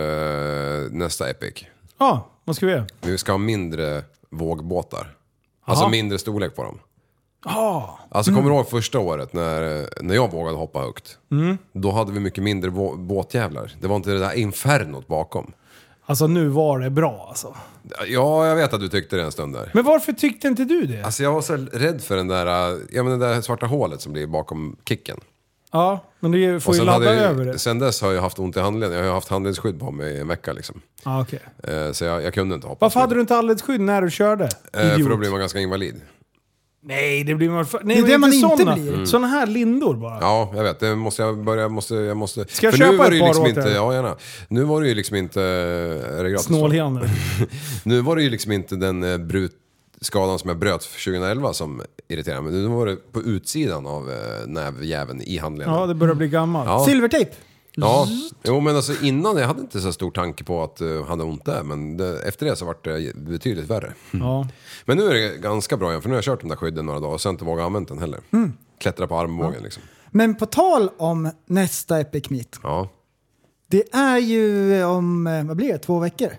nästa Epic.
Ja, vad ska vi göra?
Vi ska ha mindre vågbåtar.
Aha.
Alltså
Ah. Mm.
mindre storlek på dem.
Ja,
Alltså kommer du ihåg första året när, eh, när jag vågade hoppa högt?
Mm.
Då hade vi mycket mindre vå- båtjävlar. Det var inte det där infernot bakom.
alltså nu var det bra alltså.
Ja, jag vet att du tyckte det en stund där.
Men varför tyckte inte du det?
Alltså jag var så rädd för den där, eh, ja, men det där svarta hålet som blir bakom kicken.
ja, men du får
Alltså- Och
ju
sen
ladda
hade jag-
över det.
Sen dess har jag haft ont i handleden. Jag har haft handledsskydd på mig i en vecka liksom.
Ja, okej.
Eh, Så jag, jag kunde inte hoppa.
Varför hade du inte handledsskydd när du körde?
Eh, För då
Idiot.
blir man ganska invalid.
Nej, det blir man... för- Nej,
Det är
men
det man inte
såna.
blir. Mm.
Såna här lindor bara.
Ja, jag vet. Det måste jag börja, jag måste, jag måste.
Ska jag
För
köpa
nu var
ett
det ju
par
liksom
åt
inte,
er?
Ja, gärna. Nu var det ju liksom inte... Är det gratis?
Snålhjärnor.
Nu var det ju liksom inte den eh, brutskadan som jag bröt 2011 som irriterade mig. Nu var det på utsidan av eh, nävjäveln i handleden.
Ja, det börjar bli gammalt.
Ja.
Silvertejp.
Ja, jo men alltså innan jag hade inte så stor tanke på att eh, jag hade ont där men det, efter det så vart det betydligt värre.
Ja.
Men nu är det ganska bra igen för nu har jag kört de där skydden några dagar och sen inte vågat använda den heller.
Mm.
Klättra på armbågen liksom.
Men på tal om nästa Epic Meet.
Ja.
Det är ju om, eh, vad blir det, två veckor?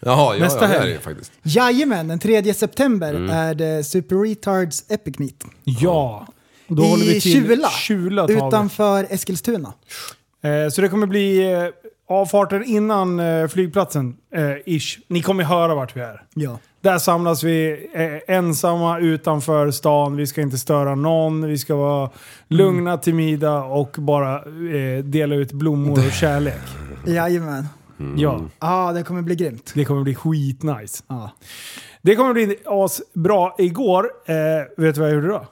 Jaha, ja,
Nästa
ja, det är
helg.
det ju faktiskt.
Jajamän, den 3 september
Mm.
är det Super Retards Epic Meet.
ja. Då håller
I
vi till
Kjula,
Kjula tar vi.
utanför Eskilstuna.
Eh, så det kommer bli eh, avfarten innan eh, flygplatsen, eh, ish. Ni kommer höra vart vi är.
Ja.
Där samlas vi eh, ensamma utanför stan. Vi ska inte störa någon. Vi ska vara lugna till middag och bara eh, dela ut blommor och kärlek.
Jajamän.
Ja,
Ja, det kommer bli grymt.
det kommer bli skitnice.
Ja.
Det kommer bli asbra. Igår, eh, vet du vad jag gjorde då?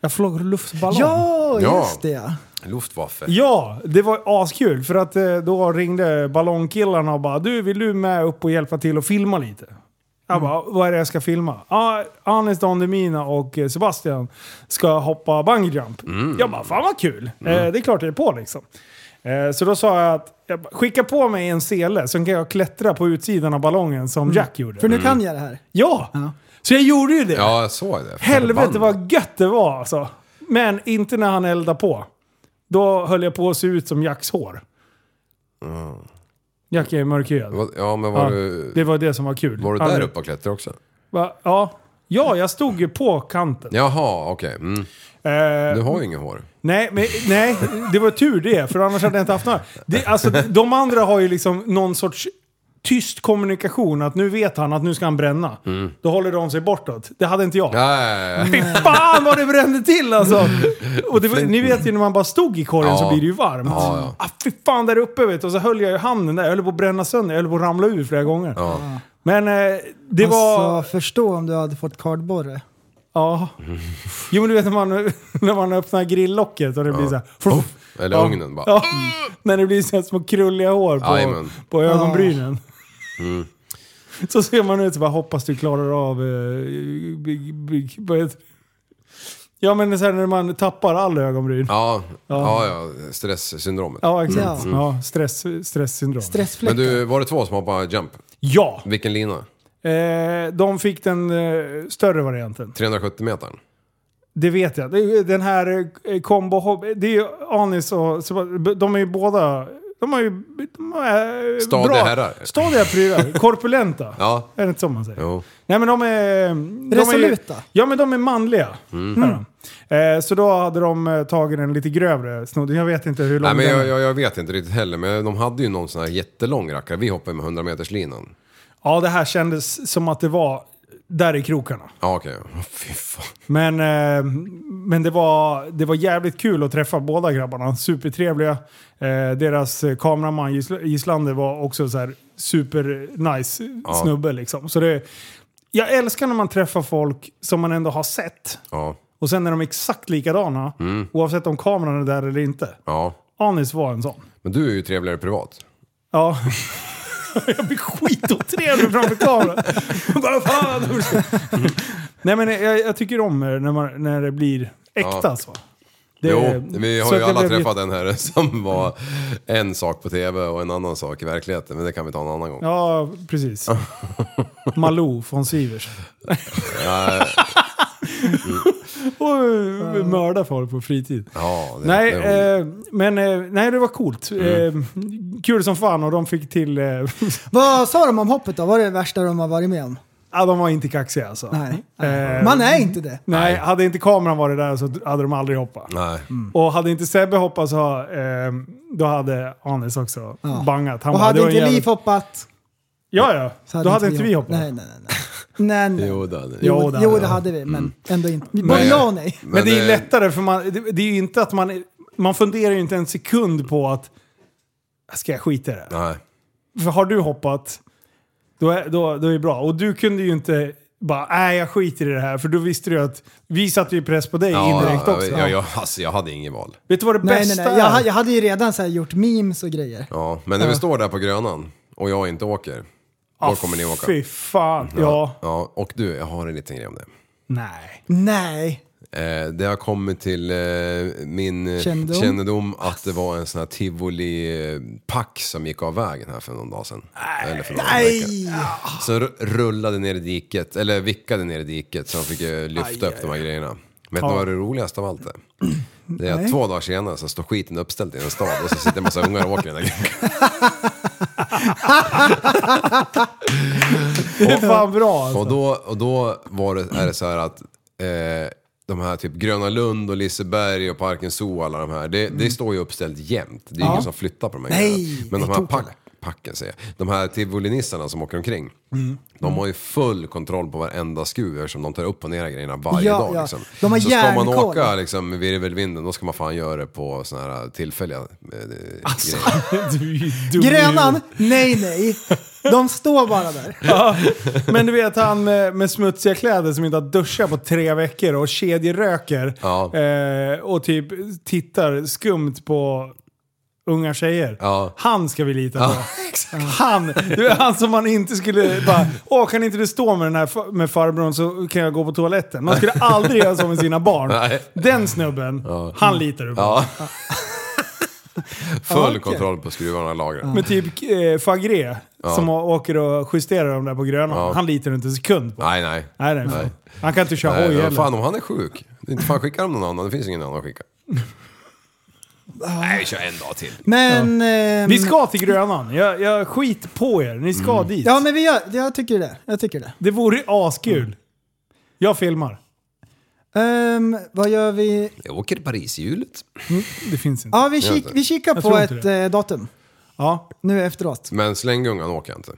Jag flög luftballong.
Ja,
Ja.
just det ja.
Luftwaffe.
Ja, det var askul för att eh, då ringde ballongkillarna och bara du vill du med upp och hjälpa till och filma lite? Jag bara, vad är det jag ska filma? Ah, Anis Don Demina och eh, Sebastian ska hoppa bungee jump. Jag bara, fan vad kul! Eh, det är klart jag är på liksom. Eh, så då sa jag att jag bara, skicka på mig en sele så kan jag klättra på utsidan av ballongen som Jack gjorde.
För nu kan jag det här.
Ja! Så jag gjorde ju det.
Ja, jag såg det.
Helvete
Förbannat.
vad gött det var alltså. Men inte när han eldade på. Då höll jag på att se ut som Jacks hår. Jack är mörkhyad.
Vad- Ja, men var
Ja,
du...
Det var det som var kul.
Var du
Han-
där uppe och klättrade också?
Va? Ja. ja, jag stod ju på kanten.
Jaha, okej. Mm.
Eh,
Du har ju inget hår.
nej, men, nej, det var tur det, för annars hade jag inte haft några. Det, alltså, de andra har ju liksom någon sorts tyst kommunikation, att nu vet han att nu ska han bränna. Då håller de sig bortåt. Det hade inte jag.
Mm. Nej,
Fy fan vad det brände till alltså! Och det, var- ni vet ju när man bara stod i korgen så
Ja.
blir det ju varmt.
Ja, ja.
Ah, fy fan där uppe vet du. Och så höll jag ju handen där. Jag höll på att bränna sönder. Jag höll på att ramla ur flera gånger. Men eh, det var...
Alltså, förstå om du hade fått kardborre.
Ja. Jo men du vet när man, när man öppnar grilllocket och det blir så här,
eller
Ja.
ugnen bara.
Ja, Mm. när det blir så här små krulliga hår på,
Jajamän.
på ögonbrynen. Så ser man ut så bara, hoppas du klarar av... Eh, big, big, vad heter det? Ja men så här när man tappar all ögonbryn. Ja,
Ja, ja, ja stresssyndromet.
exakt.
Mm.
Ja, stress, stresssyndrom.
Men
Stressfläckar.
du, var det två som hoppade jump?
Ja!
Vilken lina?
Eh, de fick den eh, större varianten.
370 metern?
Det vet jag. Det är ju Den här eh, combo hob- Det är ju Anis och Seb- De är ju båda... De har ju... De är eh,
Stadiga
bra-
herrar.
Stadiga prylar. Korpulenta.
Ja.
Är det inte så man säger?
Jo.
Nej men de är... De
Resoluta.
Är, ju- ja men de är manliga.
Mm.
Är de. Eh, så då hade de eh, tagit en lite grövre snodden. Jag vet inte hur lång
Nej, men
den
jag,
är.
jag, jag vet inte riktigt heller, men de hade ju någon sån här jättelång rackare. Vi hoppade med 100 meters linan.
Ja det här kändes som att det var där i krokarna.
Ja, okej. Okay. Fy fan.
Men, eh, men det, var, det var jävligt kul att träffa båda grabbarna. Supertrevliga. Eh, deras eh, kameraman Gisl- Gislander var också så här supernice snubbe liksom. Så det, jag älskar när man träffar folk som man ändå har sett.
Ja,
Och sen är de exakt likadana, oavsett om kameran är där eller inte.
ja.
Anis var en sån.
Men du är ju trevligare privat.
Ja. Jag blir skitotrevlig framför kameran. Vad fan! Nej men jag, jag tycker om när, man, när det blir äkta
Ja.
alltså. Det-
Jo, vi har
så
ju
att det
alla
blir-
träffat en herre som var en sak på tv och en annan sak i verkligheten. Men det kan vi ta en annan gång.
Ja, precis. Malou von Sivers. Och eh, mörda folk på fritid.
Ja, det,
Nej,
det är Mm.
eh, men eh, nej, det var coolt. Eh, kul som fan och de fick till... Eh,
Vad sa de om hoppet då? Vad är det värsta de har varit med om?
ja, de var inte kaxiga alltså.
Nej.
Eh,
Man är inte det.
nej, hade inte kameran varit där så hade de aldrig hoppat.
Nej.
Och hade inte Sebbe hoppat så eh, då hade Anis också bangat. Han
Och
bara,
hade
"Det var en
inte
jävla-"
Liv hoppat
Ja, ja.
så
då hade inte vi hoppat.
Nej, nej, nej. nej. nej, nej.
Jo, Mm. det hade
Jo,
Jo,
det
det, jo,
hade
det
jag.
hade vi, men ändå inte. Både ja och nej.
Men, det är ju
eh,
lättare för man, det, det är ju inte att man, man funderar ju inte en sekund på att ska jag skita i det? här?"
Nej.
För har du hoppat, då är, då, då är det bra. Och du kunde ju inte bara, nej jag skiter i det här. För då visste du ju att vi satte ju press på dig indirekt också.
Ja, jag, alltså, jag hade inget val.
Vet du vad det
Nej, nej,
bästa
nej.
är?
Jag, ha- jag hade ju redan så här gjort memes och grejer.
Ja, men när vi står där på Grönan och jag inte åker, då kommer ni åka.
Ah, Fy fan. Ja.
Ja, och du, jag har en liten grej om det.
Nej.
Nej.
Eh, det har kommit till eh, min eh,
Kännedom.
kännedom att det var en sån här tivoli-pack som gick av vägen här för någon dag sedan. Eller för någon
Nej!
Så r- rullade ner i diket, eller vickade ner i diket så de fick eh, lyfta upp de här grejerna. Vet ni vad det roligaste av allt är? Det är att två dagar senare så står skiten uppställd i en stad och så sitter en massa ungar och åker den där grejen.
Det är fan bra
Och
alltså.
då, och då var det, är det så här att eh, de här typ Gröna Lund och Liseberg och Parken Zoo och alla de här, det, det står ju uppställt jämt. Det är ingen som flyttar på de här
Mm. Nej,
grejerna. Men de
det
här
tog
pack, packen säger jag, de här tivolinissarna som åker omkring.
Mm.
De har ju full kontroll på varenda skruv som de tar upp och ner grejerna varje
Ja,
dag.
ja.
Liksom.
De har
Så ska man
järnkoll.
åka liksom, med virvelvinden då ska man fan göra det på såna här tillfälliga eh,
Alltså.
grejer.
Du är ju dum i
Grönan,
huvudet.
nej, nej. De står bara där.
Ja. Men du vet han eh, med smutsiga kläder som inte har duschat på tre veckor och kedjeröker.
Ja.
Eh, och typ tittar skumt på unga tjejer.
Ja.
Han ska vi lita på. Han, det är han som man inte skulle bara, åh kan inte du stå med den här fa- med farbrorn så kan jag gå på toaletten. Man skulle aldrig göra så med sina barn.
Nej.
Den snubben, han litar du på.
Ja. Full
okej.
kontroll på skruvarna i lagret.
Men typ eh, Fagré som å- åker och justerar dem där på Grönan, han litar du inte en sekund på.
Nej, nej.
Nej, nej, nej. Han kan inte köra
Nej,
hoj
men
heller.
fan om han är sjuk. Det är Inte fan skicka dem någon annan, det finns ingen annan att skicka. Nej, vi kör en dag till.
Men... ehm,
Vi ska till Grönan. Jag, jag skit på er. Ni ska
Mm.
dit.
Ja, men vi gör, jag tycker det. Jag tycker det.
Det vore askul. Jag filmar.
Ehm, vad gör vi?
Jag åker till Parishjulet.
Det finns inte.
Ja, vi, kik, vi kikar på
tror inte
ett eh, datum
Ja.
nu efteråt.
Men slänggungan åker jag inte.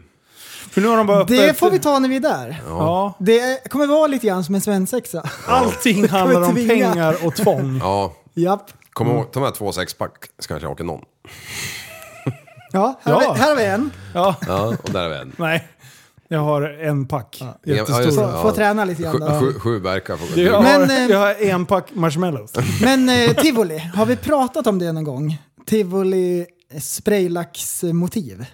För nu har de bara öppet...
Det får vi ta när vi är där.
Ja.
Det är- kommer vara lite grann som en svensexa.
Allting handlar om
tvinga.
pengar och tvång.
Ja,
Japp.
kom ihåg, ta med två sexpack så kanske jag åker någon.
Ja, här,
Ja.
Har vi, här har vi en.
Ja.
Ja, och där är vi en.
Nej. Jag har en pack.
Ja, just
Jättestor.
det,
Så,
ja.
får träna lite grann. då.
Sju, sju, sju bärkar får
jag,
Men,
har,
eh,
jag har en pack marshmallows.
Men eh, tivoli, har vi pratat om det någon gång? Tivoli eh, spraylaxmotiv.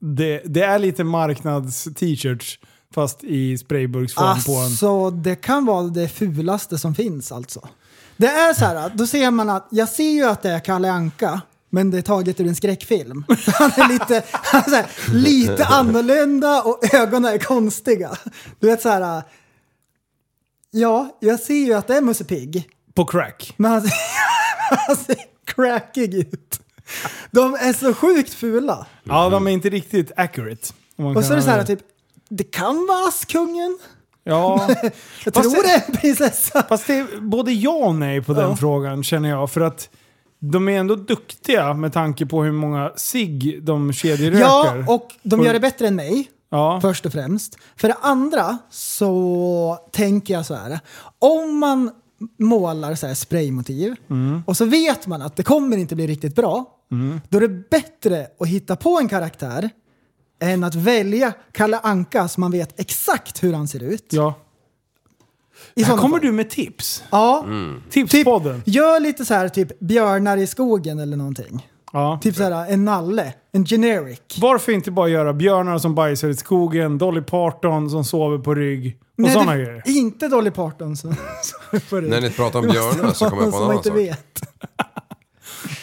Det, det är lite marknads-t-shirts fast i sprayburksform på en...
Alltså det kan vara det fulaste som finns alltså. Det är så här, då ser man att, jag ser ju att det är Kalle Anka, men det är taget ur en skräckfilm. Han är lite, han är så här, lite annorlunda och ögonen är konstiga. Du vet så här, ja, jag ser ju att det är Musse Pigg,
På crack.
men han ser, han ser crackig ut. De är så sjukt fula.
Ja, de är inte riktigt accurate. om man
Och
kan
så är det så här
använda
typ, det kan vara Askungen.
Ja.
Jag
Fast
tror
det-
det är en prinsessa.
Fast det är både ja och nej på den frågan känner jag. För att de är ändå duktiga med tanke på hur många sig de kedjeröker.
Ja, och de
Och-
gör det bättre än mig,
Ja.
först och främst. För det andra så tänker jag så här. Om man målar så här spraymotiv
Mm.
och så vet man att det kommer inte bli riktigt bra. Då är det bättre att hitta på en karaktär än att välja Kalle Anka så man vet exakt hur han ser ut.
ja.
I
Här
sådana
kommer
fall.
du med tips.
Ja,
Tipspodden.
gör lite så här typ björnar i typ skogen eller någonting.
Ja.
Typ såhär en nalle, en generic.
Varför inte bara göra björnar som bajsar i skogen, Dolly Parton som sover på rygg och
Nej,
sådana
det-
grejer?
Inte Dolly Parton. Så, så för det.
När ni pratar om
Det måste
björnar så
vara
kommer jag på
någon som
en annan
inte
sak.
vet.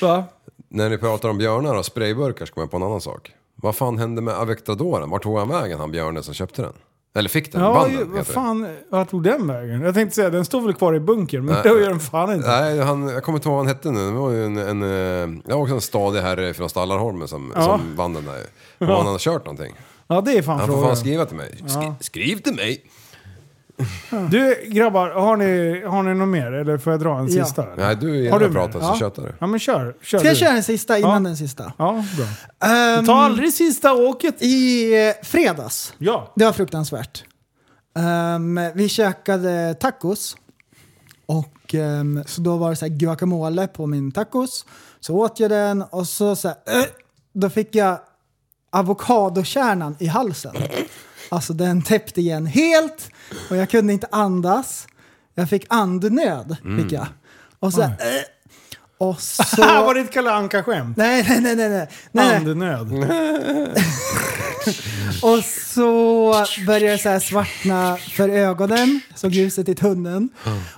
Va?
När ni pratar om björnar och sprayburkar så kommer jag på en annan sak. Vad fan hände med Avectadoren? Vart tog han vägen, han björnen som köpte den? Eller fick den?
Ja,
vann
ju,
den,
vad
heter det.
fan, vart tog den vägen? Jag tänkte säga, den står väl kvar i bunkern, men det gör den fan inte.
Nej, han, jag kommer inte ihåg vad han hette nu. Det var ju en, en, eh, det var också en stadig herre från Stallarholmen som,
Ja.
som vann den där. ju. Och han hade kört någonting.
Ja, det är fan
Han får
frågan.
fan skriva till mig. Skri, Skriv till mig!
Du grabbar, har ni, har ni något mer? Eller får jag dra en
Ja.
sista? eller?
Nej, du
Har
gillar
du
att prata
mer?
så
ja.
tjötar du.
Ja, men kör. kör
Ska jag
du.
köra den sista innan
Ja.
den sista?
Ja, bra.
Ehm,
Ta aldrig sista åket.
I eh, fredags,
Ja.
det var fruktansvärt. Ehm, vi käkade tacos. Och ehm, så då var det så här guacamole på min tacos. Så åt jag den och så, så här, eh, då fick jag avokadokärnan i halsen. Alltså den täppte igen helt och jag kunde inte andas. Jag fick andnöd, fick jag. Och så, här, eh, och så...
Här var det ett Kalle Anka-skämt.
Nej, nej, nej, nej, nej. nej. nej.
Andnöd.
Och så började det så här svartna för ögonen, så ljuset i tunneln.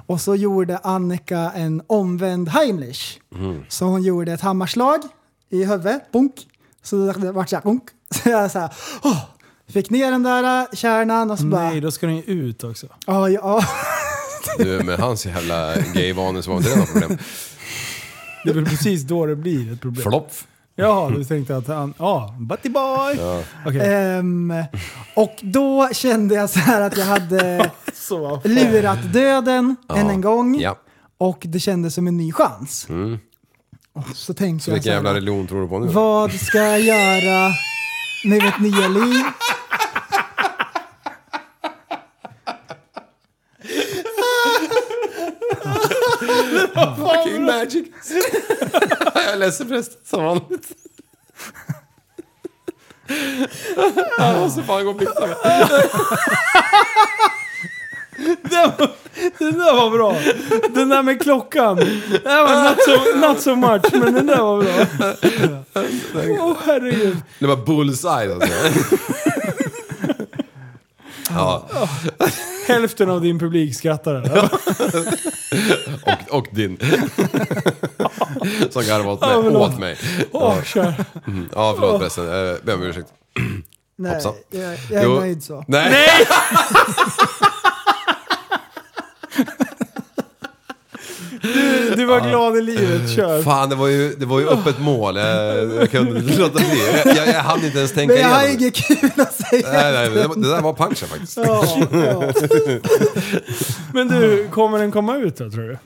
Och så gjorde Annika en omvänd Heimlich. Så hon gjorde ett hammarslag i huvudet, bunk. Så det vart så här, bunk. Så jag så här, åh, fick ner den där äh, kärnan och så bara,
Nej, då ska den ju ut också.
ja, ja.
Du, med hans jävla gayvanor så var inte det något problem.
Det är väl precis då det blir ett problem.
Flopp!
Jaha, du tänkte att han... Ja, Butty Boy! Okej,
Ehm, och då kände jag så här att jag hade
så vad fan.
lurat döden än en gång.
Ja.
Och det kändes som en ny chans. Och så tänkte
Så vilken
jag så här,
Alltså,
jävla religion tror du på nu?
Vad ska jag göra med mitt nya liv?
Fucking magic! jag är ledsen förresten, som vanligt. Jag måste fan gå och fixa mig.
Den där var bra! Den där med klockan. Det här var not so, not so much, men den där var bra. Åh herregud.
Det var bullseye alltså. Ja,
Hälften av din publik skrattade.
och, och din. Som garvade åt mig.
förlåt.
Åt mig.
Åh, kör.
Mm, Ja, förlåt förresten. Jag ber om ursäkt.
Nej,
Hoppsan.
jag, jag är
Jo.
nöjd så.
Nej! Nej!
Du var glad i livet, kör.
Eh, Fan, det var ju, det var ju öppet mål. Jag, jag kunde inte låta bli. Jag, jag, jag hann inte ens tänka
Men jag
igenom
har
det.
inget kul att säga.
Nej, nej, det, det där var punchen faktiskt.
Ja, ja.
Men du, kommer den komma ut då tror du?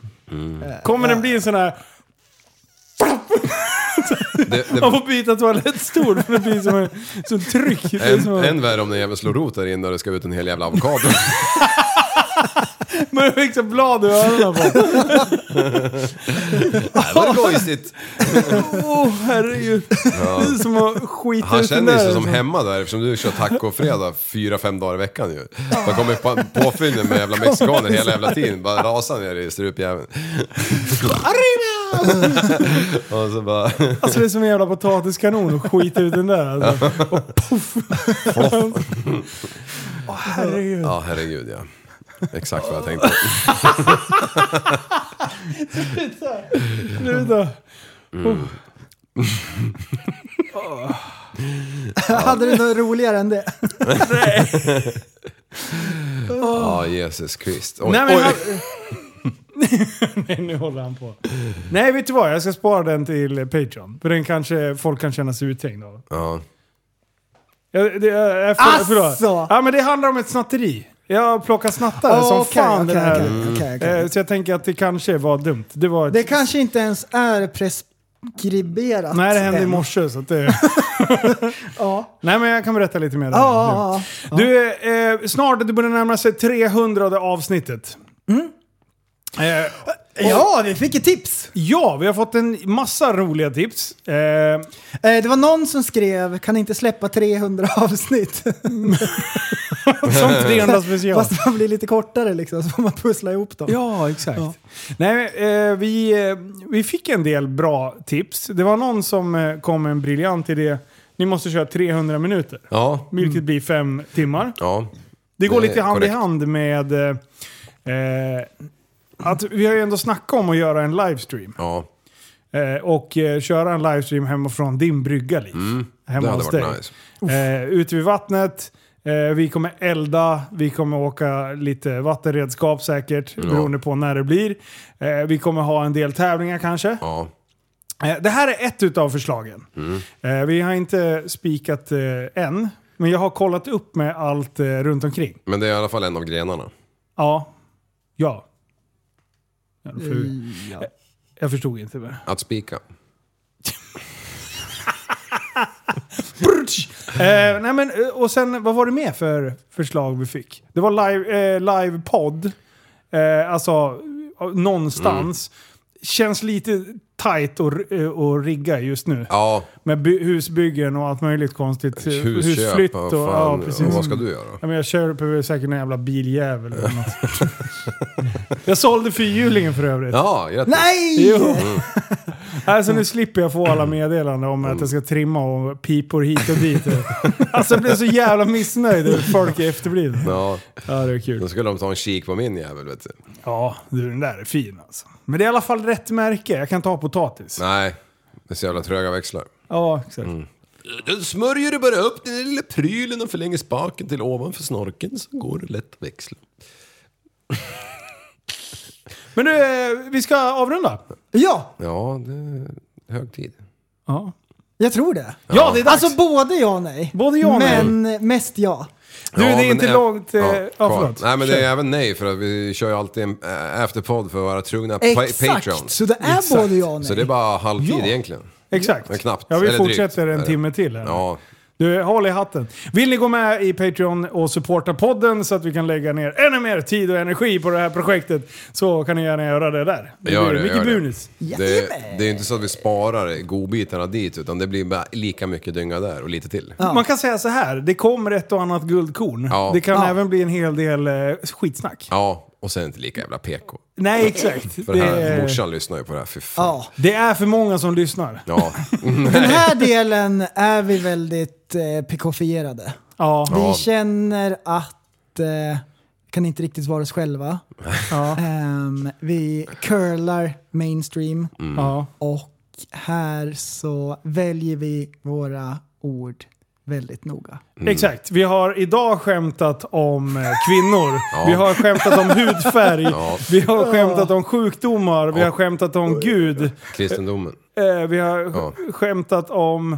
Kommer den bli en sån här...
Det,
Man
det,
får byta toalettstol för det blir som en som tryck. Det är
än,
som en,
än värre om den jäveln slår rot där inne och det ska ut en hel jävla avokado.
Man växer blad i öronen på.
Det var gojsigt.
Åh herregud. Det är som att skita
Han
ut den
känner ju
där.
sig som hemma där eftersom du kör tacofredag fyra, fem dagar i veckan ju. Man kommer på påfyllning med jävla mexikaner hela jävla tiden. Bara rasar ner i strupjäveln. Och så bara...
Alltså det är som en jävla potatiskanon och skita ut den där. Alltså. Och poff. Åh herregud.
Ja, herregud ja. Exakt vad jag tänkte.
Nu då.
Hade du något roligare än det?
Ja, Jesus Krist. Oj,
Nej, men
oj.
han- Nej, nu håller han på. Nej, vet du vad? Jag ska spara den till Patreon. För den kanske folk kan känna sig utträngda av.
Ja.
Jag, det, jag, jag, för,
Asså! Alltså!
förlåt. Ja, men det handlar om ett snatteri. Jag plockar snattare som
Okej,
fan
okej,
den här.
okej, okej, okej.
Eh, Så jag tänker att det kanske var dumt. Det var ett...
Det kanske inte ens är preskriberat.
Nej, det hände i
än.
morse så att det...
Ja.
Nej, men jag kan berätta lite mer. där.
Ja, ja,
Du,
Mm.
eh, snart, det börjar närma sig 300 avsnittet. Eh,
Ja, vi fick ett tips!
Ja, vi har fått en massa roliga tips. Eh,
Eh, Det var någon som skrev “Kan inte släppa 300 avsnitt?”
som 300 special.
Fast man blir lite kortare liksom, så får man pussla ihop dem.
Ja, exakt.
Ja.
Nej, eh, vi, eh, vi fick en del bra tips. Det var någon som eh, kom med en briljant idé. Ni måste köra 300 minuter,
Ja.
Mm.
vilket blir fem timmar.
Ja.
Det går
Det är
lite hand i
korrekt.
hand med... Eh, eh, att vi har ju ändå snackat om att göra en livestream.
Ja.
Eh, och eh, köra en livestream hemifrån din brygga, Liv.
Mm. Det
Hemma
hade
hos
varit
dig.
nice.
Eh, ute vid vattnet. Eh, vi kommer elda, vi kommer åka lite vattenredskap säkert, beroende på när det blir. Eh, vi kommer ha en del tävlingar kanske.
Ja.
Eh, det här är ett utav förslagen.
Mm.
Eh, vi har inte spikat eh, än, men jag har kollat upp med allt eh, runt omkring.
Men det är i alla fall en av grenarna.
Ja. Ja. Jävla fru. Eh, Jag förstod inte. Men.
Att spika.
Eh, nej men, eh, och sen, vad var det mer för förslag vi fick? Det var live, eh, livepodd. Eh, alltså, eh, någonstans.
Mm.
Känns lite tight att eh, att rigga just nu.
Ja,
Med by- husbyggen och allt möjligt konstigt. Eh,
husköp och,
ja,
fan,
precis.
vad ska du göra?
Ja, men jag köper säkert någon jävla biljävel eller något. jag sålde fyrhjulingen för övrigt.
Ja, grattis.
Nej!
Jo!
Mm.
Alltså nu slipper jag få alla meddelanden om att jag ska trimma och pipor hit och dit. Alltså jag blir så jävla missnöjd över att folk är efterblivna.
Ja,
Ja, det är kul.
då skulle de ta en kik på min jävel vet du.
Ja, du den där är fin alltså. Men det är i alla fall rätt märke. Jag kan ta potatis.
Nej, det är så jävla tröga växlar.
Ja, exakt.
mm. Då smörjer du bara upp den lilla prylen och förlänger spaken till ovanför snorken så går det lätt att växla.
Men du, eh, vi ska avrunda.
Ja,
Ja, det är hög tid.
Ja.
jag tror det.
Ja, det är dags.
Alltså både ja och nej.
Både ja och nej.
Men eh, mest ja.
Du, det är
men
inte
ä-
långt, eh, ja,
kvar.
förlåt.
Nej, men det
Kör.
är även nej för att vi kör ju alltid en äh, afterpodd för våra trogna pa-
Exakt,
patrons.
så det är både ja och
Så det är
nej.
bara halvtid
Ja.
egentligen.
Exakt.
Men knappt.
Ja, vi
Eller
fortsätter
drygt, är
en
det.
timme till. Här.
Ja,
Du, håll i hatten. Vill ni gå med i Patreon och supporta podden så att vi kan lägga ner ännu mer tid och energi på det här projektet så kan ni gärna göra det där. Det
Gör det,
mycket
gör det.
bonus.
det, det är inte så att vi sparar godbitarna dit utan det blir bara lika mycket dynga där och lite till.
Man kan säga så här, det kommer ett och annat guldkorn.
Ja.
Det kan
Ja.
även bli en hel del eh, skitsnack.
Ja, och sen inte lika jävla PK.
Nej, exakt.
För det
Det
här,
är,
morsan lyssnar ju på det här, fy fan.
Ja.
det är för många som lyssnar.
Ja. Mm.
Den här delen är vi väldigt eh, PK-fierade.
Ja.
Vi känner att eh, kan inte riktigt vara oss själva.
Ja.
Ehm, vi curlar mainstream
Mm.
Ja.
och här så väljer vi våra ord väldigt noga.
Mm.
Exakt. Vi har idag skämtat om eh, kvinnor. Vi har skämtat om hudfärg. Vi har skämtat om sjukdomar. Vi har skämtat om Gud.
Kristendomen.
Eh, vi har
Ja.
sk- skämtat om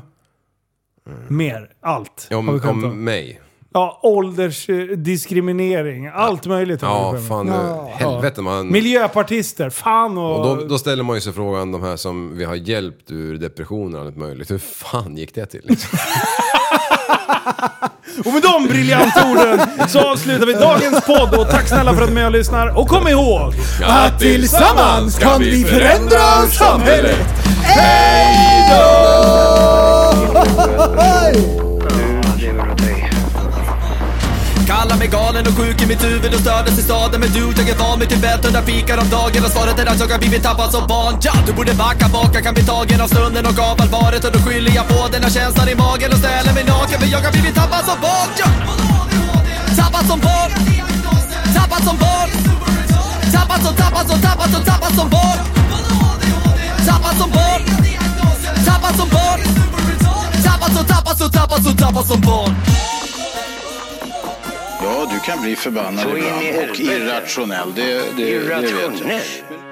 mer. Allt. har vi
Om,
skämtat om.
om mig.
Ja, åldersdiskriminering. Allt möjligt. har
Ja,
vi skämtat om.
fan.
Ja.
Helvete man.
Miljöpartister. Fan och...
Och då, då ställer man ju sig frågan, de här som vi har hjälpt ur depressioner och allt möjligt. Hur fan gick det till? Liksom?
Och med de briljanta orden så avslutar vi dagens podd. Och tack snälla för att ni lyssnar. Och kom ihåg!
Att
tillsammans kan vi förändra samhället.
Du lever åt dig.
Kallar mig galen och sjuk i mitt huvud och stördes i staden Men du, jag är van vid Tibet och där fikar om dagen Och svaret är att jag har blivit tappad som barn ja, Du borde backa bak, jag kan bli tagen av stunden och av allvaret Och då skyller jag på den här känslan i magen och ställer mig naken För jag har blivit tappad som barn ja. Tappad som barn Tappad som barn Tappad som, tappad som, tappad som, tappad som barn Tappad som barn Tappad som barn Tappad som, tappad som, tappad som, tappad som barn
Ja, du kan bli förbannad
Så in i
ibland och
helvete.
irrationell. Det, det, det vet jag.
Irrationell.